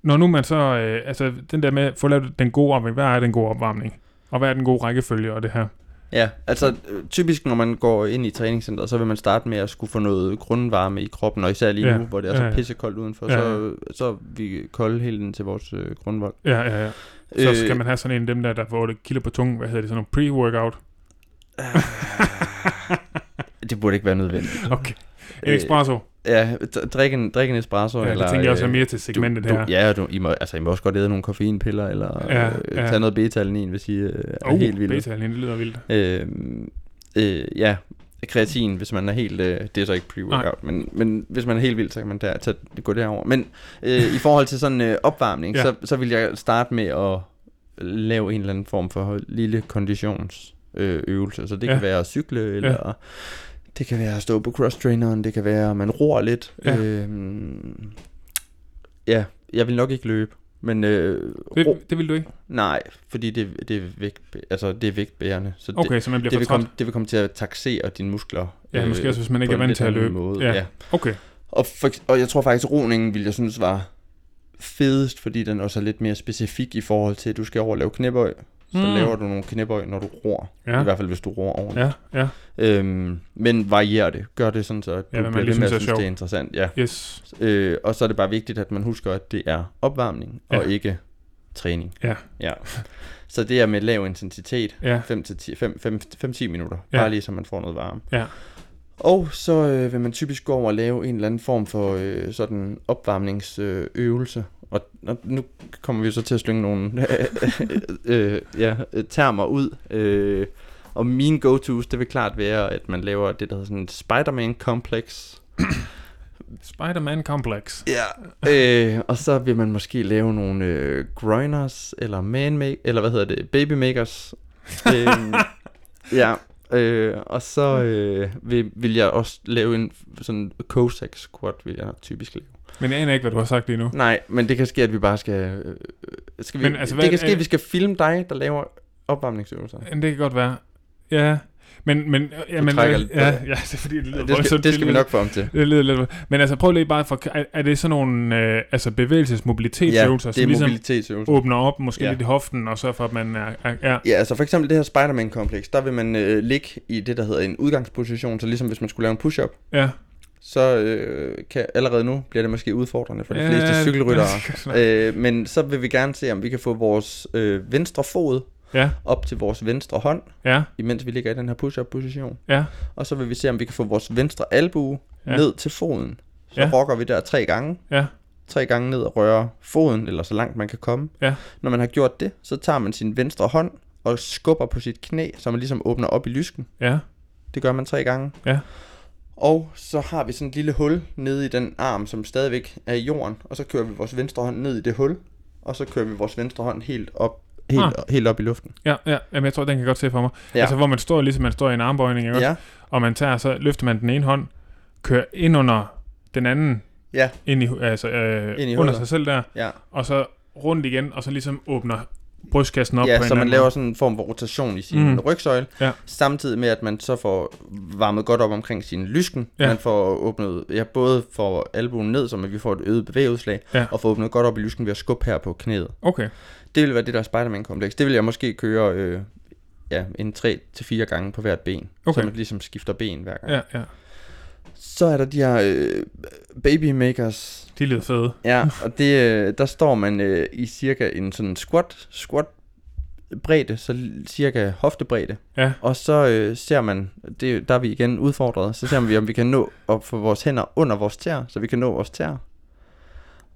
når nu man så, øh, altså den der med at få lavet den gode opvarmning, hvad er den gode opvarmning? Og hvad er den gode rækkefølge og det her? ja. Altså, øh, typisk når man går ind i træningscenteret, så vil man starte med at skulle få noget grundvarme i kroppen, og især lige Ja. ja. nu, hvor det er Ja, ja. så pissekoldt udenfor, Ja, ja. så, så er vi kolde helt ind til vores øh, grundvold. Øh, Ja, ja, ja. Så skal man have sådan en af dem der, der får det kilder på tungen, hvad hedder det, sådan nogle pre-workout? Det burde ikke være nødvendigt. Okay. En espresso. ja, d- drik en, drik en espresso. Ja, Øh, eller, det tænker jeg også er øh, mere til segmentet du, du, her. Ja, du, I, må, altså, I må også godt æde nogle koffeinpiller, eller Ja, ja, øh, ja. tage noget beta-alanin, hvis I øh, er Oh, helt vildt. beta det lyder vildt. Øh, øh, ja, kreatin, hvis man er helt, øh, det er så ikke pre-workout, men, men hvis man er helt vild, så kan man der, tage, gå derover. Men øh, i forhold til sådan øh, opvarmning, Ja. ja. så, så vil jeg starte med at lave en eller anden form for lille konditionsøvelse. Øh, øvelse. så det Ja. kan være at cykle, eller ja. det kan være at stå på cross-traineren, det kan være, at man roer lidt. Ja. Ja, øh, ja jeg vil nok ikke løbe, men øh, ro, Det, det vil du ikke? nej, fordi det, det, er vægt, altså, det er vægtbærende. Så det, Okay, så man bliver det for vil, træt. komme, det vil komme til at taxere dine muskler. Ja, øh, måske også, hvis man ikke på er en vant lidt til at anden løbe. Måde. Ja. Ja. ja. Okay, Og, for, ekse- og jeg tror faktisk, roningen ville jeg synes var fedest, fordi den også er lidt mere specifik i forhold til, at du skal over og lave knæbøj. Så Mm. mm. laver du nogle knæbøj, når du ror. Ja. Ja. I hvert fald, hvis du ror ordentligt. ja, ja, Ja. Øhm, men varier det. Gør det sådan, så at du hvad ja, man bliver lige ved med at synes er synes, det sjovt. er interessant. Ja. yes. Øh, og så er det bare vigtigt, at man husker, at det er opvarmning og Ja. ikke træning. Ja. ja. Så det er med lav intensitet. Ja, 5-10 minutter, Ja. ja. bare lige så man får noget varme. Ja. Og så øh, vil man typisk gå over og lave en eller anden form for øh, sådan opvarmningsøvelse, øh, øvelse, Og, og nu kommer vi jo så til at slynge nogle øh, ja, termer ud. Øh, og mine go-tos, det vil klart være, at man laver det, der hedder sådan et Spider-Man-kompleks. Spider-Man Complex. Ja. Øh, og så vil man måske lave nogle øh, groiners, eller man eller hvad hedder det, baby makers. øh, ja. Øh, og så øh, vil, vil jeg også lave en sådan Cossack squat, vil jeg typisk lave. Men jeg aner ikke, hvad du har sagt lige nu. Nej, men det kan ske, at vi bare skal... Øh, skal vi, Men altså, men, altså, hvad- det kan ske, er- at vi skal filme dig, der laver opvarmningsøvelser. Men det kan godt være. Ja, men... men ja, men, øh, trækker ja, lidt på ja, det. det er fordi, det lyder Det voldsomt. skal, det skal vi lyder- nok få om til. Det lyder lidt... Men altså, prøv lige bare for... Er, er det sådan nogle øh, altså Ja, bevægelsesmobilitetsøvelser, det som er ligesom mobilitetsøvelser. åbner op, måske ja. Ja. lidt i hoften, og sørger for, at man er... er, er Ja, altså for eksempel det her Spider-Man-kompleks, der vil man øh, ligge i det, der hedder en udgangsposition, så ligesom hvis man skulle lave en push-up, ja. så øh, kan, allerede nu bliver det måske udfordrende for de ja, fleste cykelryttere. Ja, Øh, men så vil vi gerne se, om vi kan få vores øh, venstre fod ja, op til vores venstre hånd, ja, imens vi ligger i den her push-up-position. ja. Og så vil vi se, om vi kan få vores venstre albue Ja. ja. ned til foden. Så Ja. ja. rokker vi der tre gange. Ja. Tre gange ned og rører foden, eller så langt man kan komme. Ja. Når man har gjort det, så tager man sin venstre hånd og skubber på sit knæ, så man ligesom åbner op i lysken. ja. Det gør man tre gange. Ja. Og så har vi sådan et lille hul nede i den arm, som stadigvæk er i jorden. Og så kører vi vores venstre hånd ned i det hul. Og så kører vi vores venstre hånd helt op, helt, Ah. ah. helt op i luften. Ja, ja, jamen jeg tror, den kan jeg godt se for mig. Ja. Ja. Altså, hvor man står, ligesom man står i en armbøjning, ikke? også? Ja, og man tager, så løfter man den ene hånd, kører ind under den anden, Ja. ind i, hu- altså, øh, Ind i ind i under hullet. sig selv der, ja. og så rundt igen, og så ligesom åbner brystkassen op på ja en så eller man anden laver måde. sådan en form for rotation i sin Mm. mm. rygsøjle, Ja. samtidig med at man så får varmet godt op omkring sin lysken. Ja. Ja. Man får åbnet, ja, både får albuen ned, så man- vi får et øget bevægeudslag, Ja. og får åbnet godt op i lysken ved at skubbe her på knæet. Okay, Det vil være det der Spider-Man-kompleks. Det vil jeg måske køre øh, ja, en 3-4 gange på hvert ben, Okay. så man ligesom skifter ben hver gang. ja, ja. Så er der de her øh, baby makers, De lyder fede. Ja, og det, øh, der står man øh, i cirka en sådan squat, squat bredde, så l- cirka hoftebredde. Ja. Og så øh, ser man, det, der er vi igen udfordret, så ser vi, om vi kan nå at få vores hænder under vores tær, så vi kan nå vores tær.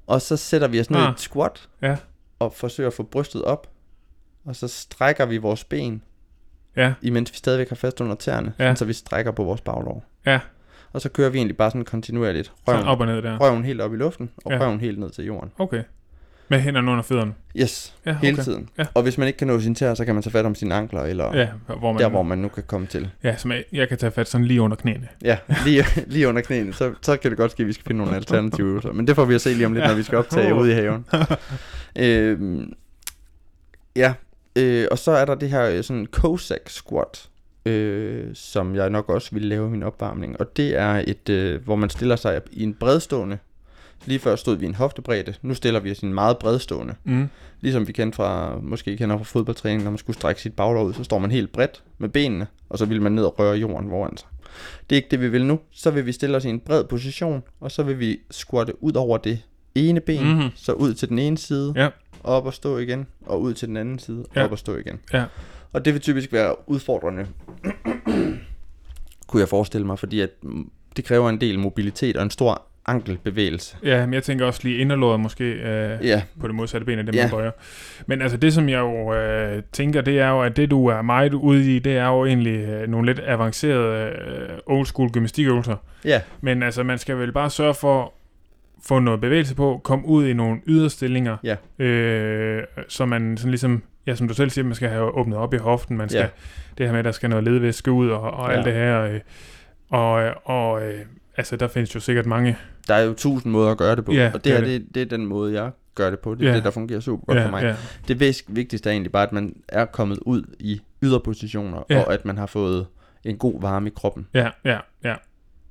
Og så sætter vi os ned Ah. i et squat, Ja. og forsøger at få brystet op. Og så strækker vi vores ben, Ja, imens vi stadigvæk har fast under tæerne, Ja. ja. så vi strækker på vores baglov. Ja. Og så kører vi egentlig bare sådan kontinuerligt. sådan Røven, op og ned der. røven helt op i luften, og Ja. ja. røven helt ned til jorden. Okay. Med hænderne under fødderne. Yes, Ja, ja, okay. hele tiden. Ja. Ja. Og hvis man ikke kan nå sin tæer, så kan man tage fat om sine ankler, eller ja, Ja, hvor man, der, hvor man nu kan komme til. ja, som jeg, jeg kan tage fat sådan lige under knæene. Ja, lige, lige under knæene. Så, så kan det godt ske, at vi skal finde nogle alternative øvelser. Men det får vi at se lige om lidt, Ja. ja. når vi skal optage ude i haven. øhm, ja, øh, og så er der det her øh, sådan Cossack squat, øh, som jeg nok også ville lave i min opvarmning. Og det er et, øh, hvor man stiller sig i en bredstående. Lige før stod vi i en hoftebredde. Nu stiller vi os i en meget bredstående. Mm. Ligesom vi kendte fra, måske kender fra fodboldtræning, når man skulle strække sit baglov ud, så står man helt bredt med benene, og så vil man ned og røre jorden foran sig. Det er ikke det, vi vil nu. Så vil vi stille os i en bred position, og så vil vi squatte ud over det ene ben, Mhm. mm-hmm. så ud til den ene side, Ja. op og stå igen, og ud til den anden side, Ja. op og stå igen. Ja. Og det vil typisk være udfordrende, kunne jeg forestille mig, fordi at mm, det kræver en del mobilitet og en stor ankelbevægelse. Ja, men jeg tænker også lige inderlåret måske øh, Ja, på det modsatte ben af det, man Ja. bøjer. Men altså det, som jeg jo øh, tænker, det er jo, at det, du er meget ude i, det er jo egentlig øh, nogle lidt avancerede øh, old school gymnastikøvelser. ja, Men altså, man skal vel bare sørge for at få noget bevægelse på, komme ud i nogle yderstillinger, Ja. øh, så man sådan ligesom, ja, som du selv siger, man skal have åbnet op i hoften, man skal, Ja. det her med, at der skal noget ledvæske ud og, og ja. alt Ja. det her. Øh, og øh, og øh, altså, der findes jo sikkert mange. der er jo tusind måder at gøre det på, Ja, ja, og det det er her, det, det er den måde, jeg gør det på. Det er Ja. ja. det, der fungerer super godt ja, for mig. Ja. ja, Det vis- vigtigste er egentlig bare, at man er kommet ud i yderpositioner, Ja. ja. og at man har fået en god varme i kroppen. ja, ja, ja.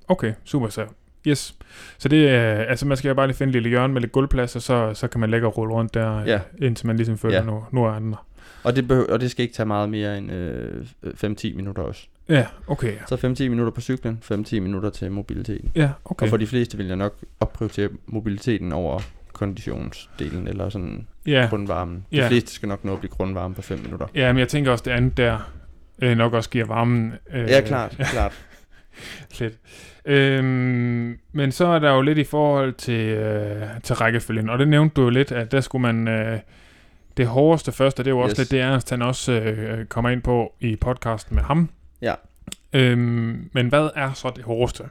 Okay, super så. Yes. Så det er, altså man skal jo bare lige finde en lille hjørne med lidt gulvplads, og så, så kan man lægge og rulle rundt der, Ja. indtil man ligesom føler, Ja. nu, nu er andre. Og det, behøver, og det skal ikke tage meget mere end øh, 5-10 minutter også. Ja, okay. Så 5-10 minutter på cyklen, 5-10 minutter til mobiliteten. Ja, Okay. okay. Og for de fleste vil jeg nok opprioritere mobiliteten over konditionsdelen, eller sådan ja. ja. grundvarmen. De Ja. ja. fleste skal nok nå at blive grundvarme på 5 minutter. Ja, men jeg tænker også, det andet der øh, nok også giver varmen. Øh, Ja, klart, klart. lidt. Øhm, men så er der jo lidt i forhold til, øh, til rækkefølgen, og det nævnte du jo lidt, at der skulle man... Øh, det hårdeste først, og det er jo også yes. lidt Yes. det, Ernst han også øh, kommer ind på i podcasten med ham. Ja. Øhm, men hvad er så det hårdeste?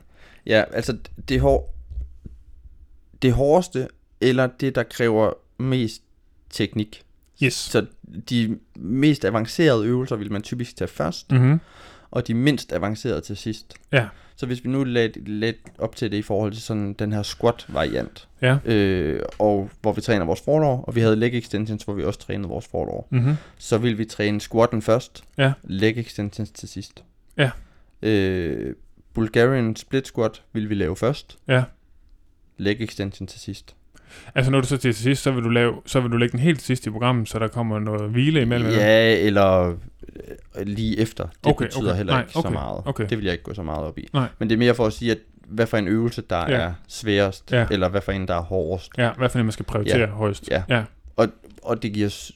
Ja, altså det, hår, det hårdeste, eller det, der kræver mest teknik. Yes. Så de mest avancerede øvelser vil man typisk tage først, Mm-hmm. og de mindst avancerede til sidst. Ja. Så hvis vi nu lagde lidt op til det i forhold til sådan den her squat-variant, Ja. øh, og hvor vi træner vores forlår, og vi havde leg extensions, hvor vi også trænede vores forlår, Mm-hmm. så vil vi træne squatten først, Ja. leg extensions til sidst. Ja. Øh, Bulgarian split squat vil vi lave først, Ja. leg extension til sidst. Altså når du så til sidst, så vil du, lave, så vil du lægge den helt sidst i programmet, så der kommer noget hvile imellem. Ja, eller øh, lige efter. Det Okay, okay, betyder okay. heller Nej, ikke så okay, meget. okay. Det vil jeg ikke gå så meget op i. Nej. Men det er mere for at sige, at hvad for en øvelse, der Ja. er sværest, Ja. eller hvad for en, der er hårdest. Ja, hvad for en man skal prioritere ja. højst. Ja. ja. Og det giver... s-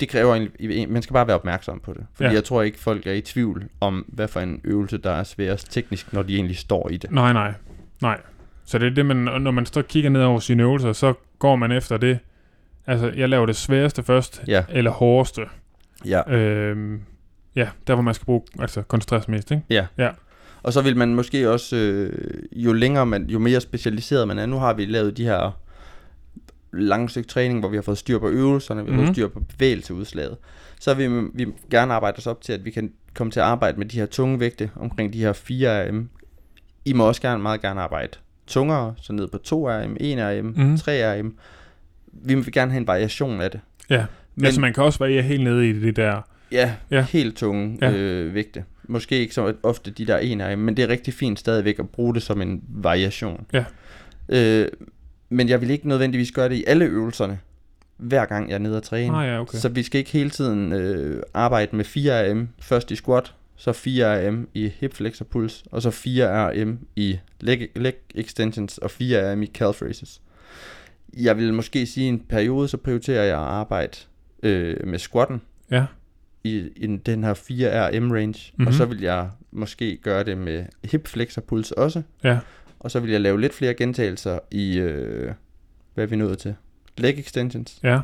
Det kræver egentlig... Man skal bare være opmærksom på det. Fordi Ja. ja. jeg tror ikke, folk er i tvivl om, hvad for en øvelse, der er sværest teknisk, når de egentlig står i det. Nej, nej. Nej. Så det er det, man, og når man så kigger ned over sine øvelser, så går man efter det. Altså, jeg laver det sværeste først, Ja, eller hårdeste. ja. Øhm, ja, der hvor man skal bruge, altså koncentreres mest, ikke? Og så vil man måske også, øh, jo længere man, jo mere specialiseret man er. Nu har vi lavet de her langsigtet træning, hvor vi har fået styr på øvelserne, vi har Mhm. fået styr på bevægelseudslaget. Så vil vi- vi gerne arbejde os op til, at vi kan komme til at arbejde med de her tunge vægte, omkring de her 4 RM. I må også gerne, meget gerne arbejde tungere, så ned på 2 RM, 1 RM, Mhm. 3 RM. Vi vil gerne have en variation af det. Ja. Men, Men- altså, man kan også være helt nede i det der. Ja, Ja. ja. helt tunge Ja. ja. Øh, vægte. Måske ikke så ofte de der en af, men det er rigtig fint stadigvæk at bruge det som en variation. Ja. Øh, men jeg vil ikke nødvendigvis gøre det i alle øvelserne, hver gang jeg er nede og træne. Ah, ja, okay. Så vi skal ikke hele tiden øh, arbejde med 4 RM først i squat, så 4 RM i hip flex og puls, og så 4 RM i leg, leg extensions og 4 RM i calf raises. Jeg vil måske sige, at i en periode, så prioriterer jeg at arbejde øh, med squatten, Ja. i, i den her 4RM range, Mhm. mm-hmm. og så vil jeg måske gøre det med hip flex og puls også. Ja. Og så vil jeg lave lidt flere gentagelser i, øh, hvad er vi nået til? Leg extensions. Ja.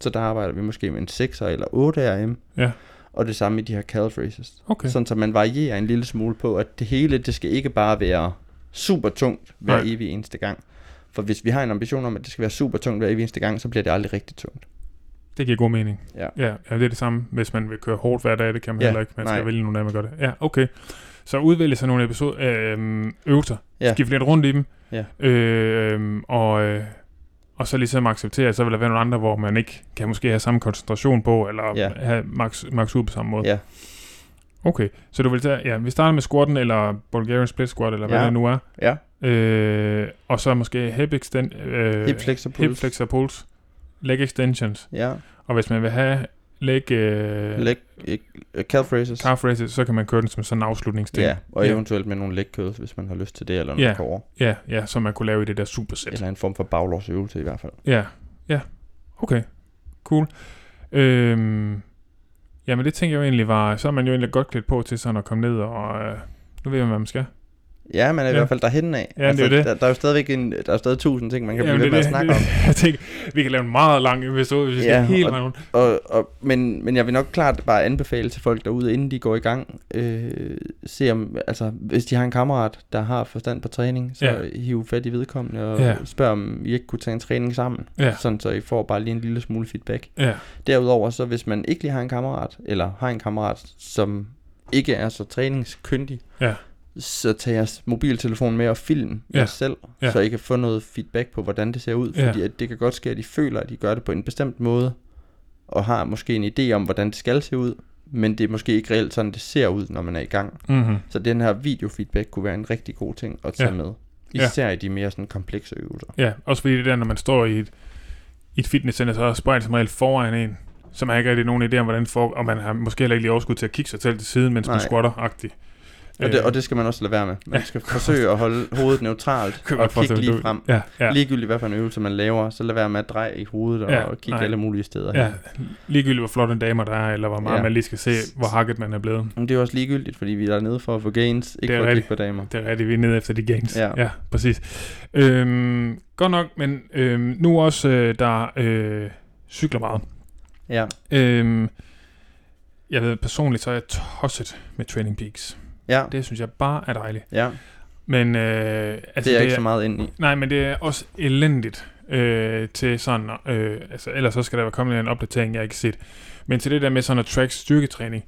Så der arbejder vi måske med en 6'er eller 8RM. Ja. Og det samme i de her calf raises. Okay. Okay. Sådan så man varierer en lille smule på, at det hele, det skal ikke bare være super tungt hver Nej. evig eneste gang. For hvis vi har en ambition om, at det skal være super tungt hver evig eneste gang, så bliver det aldrig rigtig tungt. Det giver god mening. Ja. ja. Ja, det er det samme, hvis man vil køre hårdt hver dag, det kan man Ja, heller ikke. Man skal nej. vælge nogle af, man gør det. Ja, okay. Så udvælge sig nogle episode, øh, øvelser, ja. Ja. skifte lidt rundt i dem, Ja. øh, og, øh, og så ligesom acceptere, at så vil der være nogle andre, hvor man ikke kan måske have samme koncentration på, eller ja. Ja. have max, max ud på samme måde. Ja. Okay, så du vil tage, ja, vi starter med squatten, eller Bulgarian split squat, eller hvad Ja. det nu er, Ja. øh, og så måske hip, extend, øh, Hip flex og puls. hip flexor pulse, leg extensions, Ja. og hvis man vil have leg, øh, Leg, øh, calf raises. calf raises, så kan man køre den som sådan en afslutningsting. Ja, og Ja. ja. eventuelt med nogle leg curls, hvis man har lyst til det, eller Ja. noget core, ja, ja som man kunne lave i det der supersæt. eller en form for baglårsøvelse i hvert fald. Ja, ja. Okay, cool. Øhm, jamen det tænker jeg jo egentlig var, så er man jo egentlig godt klædt på til sådan at komme ned og... Øh, nu ved jeg, hvad man skal. Ja, man er Ja. i hvert fald derhen af. Altså, Ja, det er jo det. Der, der, er jo stadigvæk en, der er stadig tusind ting, man kan blive ved med at snakke om. Jeg tænker, vi kan lave en meget lang episode, hvis vi Ja, skal helt og- meget rundt. Og, og, men, men jeg vil nok klart bare anbefale til folk derude, inden de går i gang, øh, se om, altså hvis de har en kammerat, der har forstand på træning, så Ja. ja. hiv fat i vedkommende og Ja. ja. spørg, om I ikke kunne tage en træning sammen, Ja. sådan så I får bare lige en lille smule feedback. Ja, Derudover så, hvis man ikke lige har en kammerat, eller har en kammerat, som ikke er så træningskyndig, Ja. så tag jeres mobiltelefon med og film Ja. ja. jer selv, Ja. ja. så I kan få noget feedback på, hvordan det ser ud. Ja. Fordi at det kan godt ske, at I føler, at I gør det på en bestemt måde, og har måske en idé om, hvordan det skal se ud, men det er måske ikke reelt sådan, det ser ud, når man er i gang. mm-hmm. Så den her videofeedback kunne være en rigtig god ting at tage Ja. ja. med. Ja. Især i de mere sådan komplekse øvelser. ja. også fordi det der, når man står i et, i et fitnesscenter, så er spejlet som regel foran en, så man har ikke rigtig nogen idé om, hvordan det foregår, og man har måske heller ikke lige overskud til at kigge sig selv til siden, mens man Nej. squatter-agtigt. Øh, Og det, og det skal man også lade være med. Man skal forsøge at holde hovedet neutralt Køb og op for at kigge se lige ud. frem. Ja, ja. Ligegyldigt hvad for en øvelse man laver, så lad være med at dreje i hovedet og, Ja, og kigge nej. alle mulige steder. hen. Ja, ligegyldigt hvor flot en dame der er, eller hvor meget ja. Ja. man lige skal se, hvor hakket man er blevet. Men det er jo også ligegyldigt, fordi vi er dernede for at få gains, ikke Det er for at rigtigt. kigge på damer. Det er rigtigt, vi er nede efter de gains. Ja. ja præcis. Øhm, godt nok, men øhm, nu også, øh, der øh, cykler meget. Ja, Øhm, jeg ved personligt, så er jeg tosset med Training Peaks. ja, Det synes jeg bare er dejligt. ja. Men, øh, Altså, det er jeg ikke så meget ind i. Nej, men det er også elendigt øh, til sådan, øh, altså ellers så skal der være kommet en opdatering, jeg ikke har set. Men til det der med sådan at track styrketræning,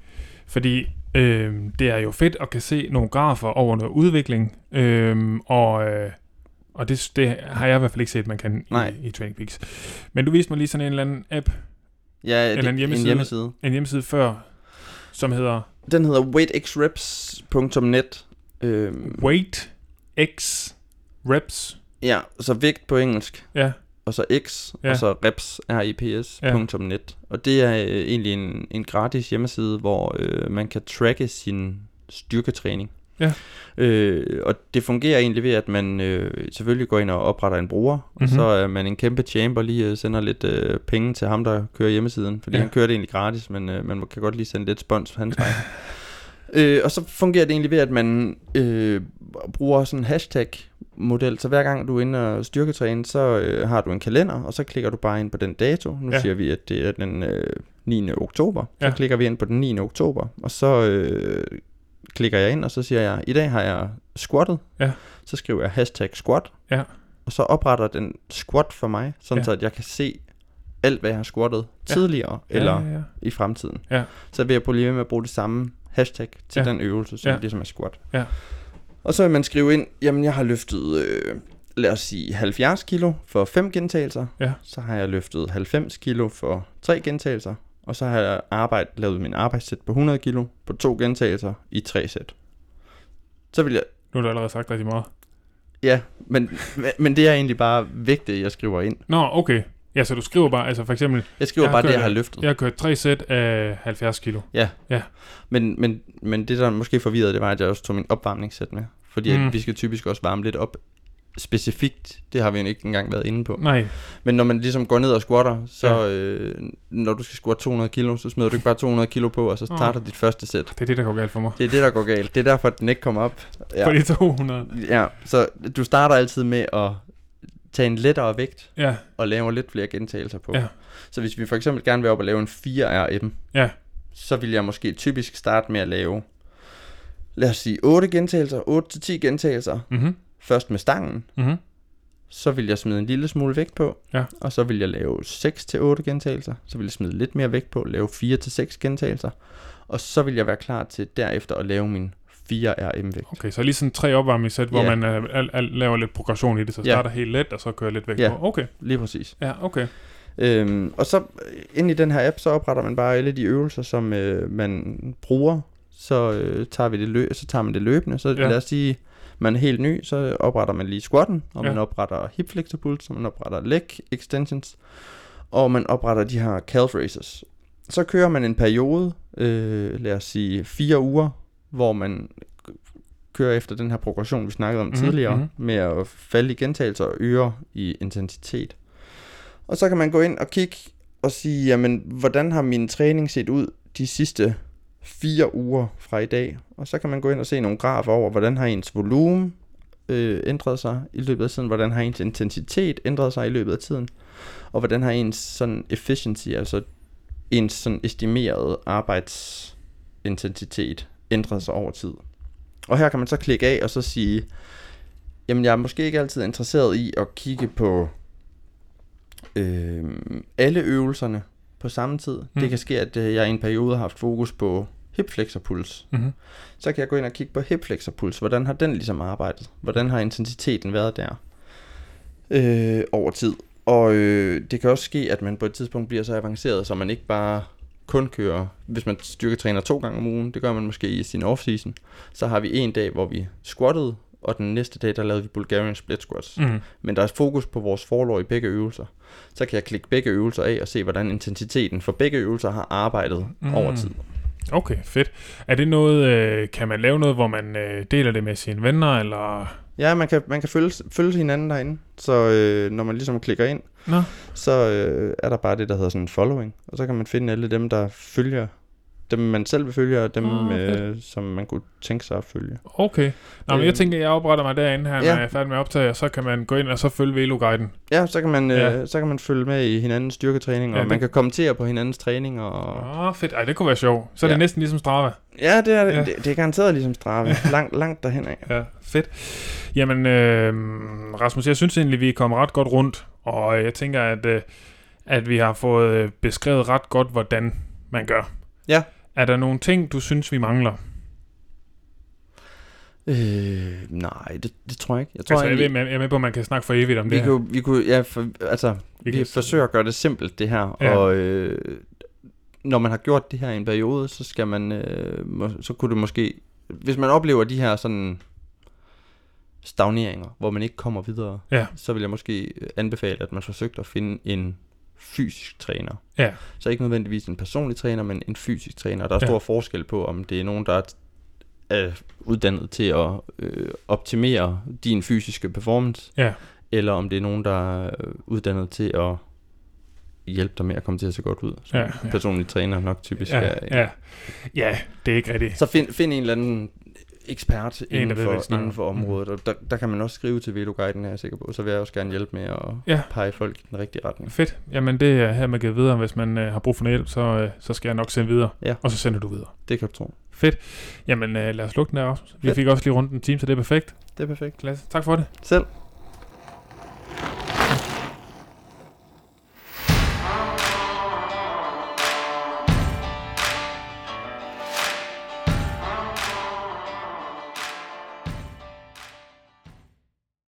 fordi øh, det er jo fedt at kan se nogle grafer over noget udvikling, øh, og, øh, og det, det har jeg i hvert fald ikke set, man kan Nej. i, i Training Peaks. Men du viste mig lige sådan en eller anden app, Ja, det, Eller en hjemmeside. en hjemmeside. en hjemmeside før, som hedder Den hedder weightxreps.net. Øhm, Weight X Reps. ja, så vægt på engelsk, Ja, og så x, Ja. og så reps, reps, Ja. punktum .net. Og det er øh, egentlig en, en gratis hjemmeside, hvor øh, man kan tracke sin styrketræning. Ja. Øh, og det fungerer egentlig ved, at man øh, selvfølgelig går ind og opretter en bruger, mm-hmm. Mhm. og så er man en kæmpe chamber, lige øh, sender lidt øh, penge til ham, der kører hjemmesiden, fordi Ja. ja. han kører det egentlig gratis, men øh, man kan godt lige sende lidt spons for hans vej. Øh, og så fungerer det egentlig ved, at man øh, bruger sådan en hashtag-model, så hver gang du er inde og styrketræne, så øh, har du en kalender, og så klikker du bare ind på den dato. Nu Ja. ja. siger vi, at det er den øh, 9. oktober. Så Ja. klikker vi ind på den 9. oktober, og så øh, klikker jeg ind, og så siger jeg, i dag har jeg squattet. Ja. Så skriver jeg hashtag squat, Ja. og så opretter den squat for mig, sådan Ja. ja. så at jeg kan se alt, hvad jeg har squattet Ja. tidligere, eller ja, ja, ja. i fremtiden. Ja. Så vil jeg blive ved med at bruge det samme hashtag til Ja. ja. den øvelse, som Ja. ja. ligesom er squat. Ja. Og så vil man skrive ind, jamen jeg har løftet, øh, lad os sige 70 kilo for 5 gentagelser. Ja. Så har jeg løftet 90 kilo for 3 gentagelser. Og så har jeg arbejdet, lavet min arbejdssæt på 100 kilo på 2 gentagelser i 3 sæt. Så vil jeg, Nu har du allerede sagt rigtig meget. ja, men, men- men det er egentlig bare vægte, jeg skriver ind. Nå, okay. Ja, så du skriver bare, altså for eksempel, Jeg skriver Jeg jeg bare gør det, jeg det. har løftet. Jeg har kørt tre sæt af 70 kilo. Men, men, men det, der måske forvirrede, det var, at jeg også tog min opvarmningssæt med. Fordi Mm. mm. vi skal typisk også varme lidt op specifikt. Det har vi jo ikke engang været inde på. Nej, Men når man ligesom går ned og squatter, så Ja. ja. øh, når du skal squatte 200 kilo, så smider du ikke bare 200 kilo på, og så Nå. starter dit første sæt. det er det, der går galt for mig. Det er det, der går galt. Det er derfor, at den ikke kommer op. Ja. Ja. For det er 200. ja. Så du starter altid med at tage en lettere vægt Ja, og laver lidt flere gentagelser på. Ja. Så hvis vi for eksempel gerne vil op og lave en 4RM, Ja. så vil jeg måske typisk starte med at lave, lad os sige 8 gentagelser, 8-10 gentagelser, mhm, først med stangen, mhm, så vil jeg smide en lille smule vægt på, Ja. og så vil jeg lave 6-8 gentagelser, så vil jeg smide lidt mere vægt på, lave 4-6 gentagelser, og så vil jeg være klar til derefter at lave min 4RM-vægt. okay, så lige sådan tre opvarmningssæt, hvor Ja. man øh, al, al, laver lidt progression i det, så Ja. starter helt let, og så kører lidt væk. Ja. på. Okay, Lige præcis. ja, okay. Øhm, og så øh, ind i den her app, så opretter man bare alle de øvelser, som øh, man bruger. Så, øh, tager vi det lø- så tager man det løbende. Så Ja. ja. lad os sige, man er helt ny, så opretter man lige squatten, og Ja. ja. man opretter hip flexor pulse, og man opretter leg extensions, og man opretter de her calf raises. Så kører man en periode, øh, lad os sige fire uger, hvor man k- kører efter den her progression, vi snakkede om Mhm, mm-hmm. tidligere, mhm. med at falde i gentagelser og øge i intensitet. Og så kan man gå ind og kigge og sige, jamen, hvordan har min træning set ud de sidste fire uger fra i dag? Og så kan man gå ind og se nogle grafer over, hvordan har ens volumen øh, ændret sig i løbet af tiden, hvordan har ens intensitet ændret sig i løbet af tiden, og hvordan har ens sådan efficiency, altså ens sådan estimeret arbejdsintensitet ændret sig over tid. Og her kan man så klikke af og så sige, jamen jeg er måske ikke altid interesseret i at kigge på øh, alle øvelserne på samme tid. Mm. Mm. Det kan ske, at øh, jeg i en periode har haft fokus på hip flexor puls. Mhm. Så kan jeg gå ind og kigge på hip flexor puls. Hvordan har den ligesom arbejdet? Hvordan har intensiteten været der øh, over tid? Og øh, det kan også ske, at man på et tidspunkt bliver så avanceret, så man ikke bare kun kører, hvis man styrketræner to gange om ugen, det gør man måske i sin off-season, så har vi en dag, hvor vi squattede, og den næste dag, der lavede vi Bulgarian split squats. Mm. Mm. Men der er fokus på vores forlår i begge øvelser. Så kan jeg klikke begge øvelser af og se, hvordan intensiteten for begge øvelser har arbejdet mm. over tid. Okay, fedt. Er det noget, øh, kan man lave noget, hvor man øh, deler det med sine venner, eller... Ja, man kan, man kan følge, følge hinanden derinde, så øh, når man ligesom klikker ind, Nå. så øh, er der bare det, der hedder sådan en following, og så kan man finde alle dem, der følger, dem man selv vil følge, og dem, Ah, oh, fedt. øh, som man kunne tænke sig at følge. Okay. Nå, men jeg Øhm. tænker, jeg opretter mig derinde her, når Ja. jeg er færdig med at optage, og så kan man gå ind og så følge Velo-guiden. Ja, så kan man, øh, Ja. ja. så kan man følge med i hinandens styrketræning, Ja, og ja, Ah. det- man kan kommentere på hinandens træning, og... Åh, fedt. Ej, det kunne være sjovt. Så er det Ja. næsten ligesom Strava. Ja, det er, Ja. ja. Det, det er garanteret ligesom Strava, langt, langt derhen af. Ja, fedt. Jamen, øh, Rasmus, jeg synes egentlig, vi er kommet ret godt rundt, og øh, jeg tænker, at, øh, at vi har fået øh, beskrevet ret godt, hvordan man gør. Ja. Er der nogle ting, du synes, vi mangler? Øh, nej, det, det tror jeg ikke. Jeg tror Altså, jeg, egentlig, ved, jeg er med på, at man kan snakke for evigt om vi det her. kunne, vi kunne, ja, for, altså, vi, vi kan- forsøger at gøre det simpelt, det her. Ja. Ja. Og øh, når man har gjort det her i en periode, så skal man, øh, må, så kunne det måske, hvis man oplever de her sådan stagneringer, hvor man ikke kommer videre, Ja. så vil jeg måske øh, anbefale, at man forsøgte at finde en fysisk træner. Ja. Så ikke nødvendigvis en personlig træner, men en fysisk træner. Der er Ja. stor forskel på, om det er nogen, der er er uddannet til at øh, optimere din fysiske performance, Ja. eller om det er nogen, der er øh, uddannet til at hjælpe dig med at komme til at se godt ud. Som Ja, ja, ja. ja. personlig træner nok typisk Ja, er. ja. ja, det er ikke rigtigt. Så find, find en eller anden ekspert der inden ved, hvad de for, snakker inden for om. Mhm. området, og der, der kan man også skrive til Veloguiden, er jeg sikker på. Så vil jeg også gerne hjælpe med at Ja. ja. pege folk i den rigtige retning. Fedt. Jamen, det er her, man givet videre. Hvis man øh, har brug for noget hjælp, så, øh, så skal jeg nok sende videre. Ja. Og så sender du videre. Det kan du tro. Fedt. Jamen, øh, lad os lukke den der, Rasmus. Vi Fedt. fik også lige rundt en time, så det er perfekt. Det er perfekt. Klasse. Tak for det. Selv.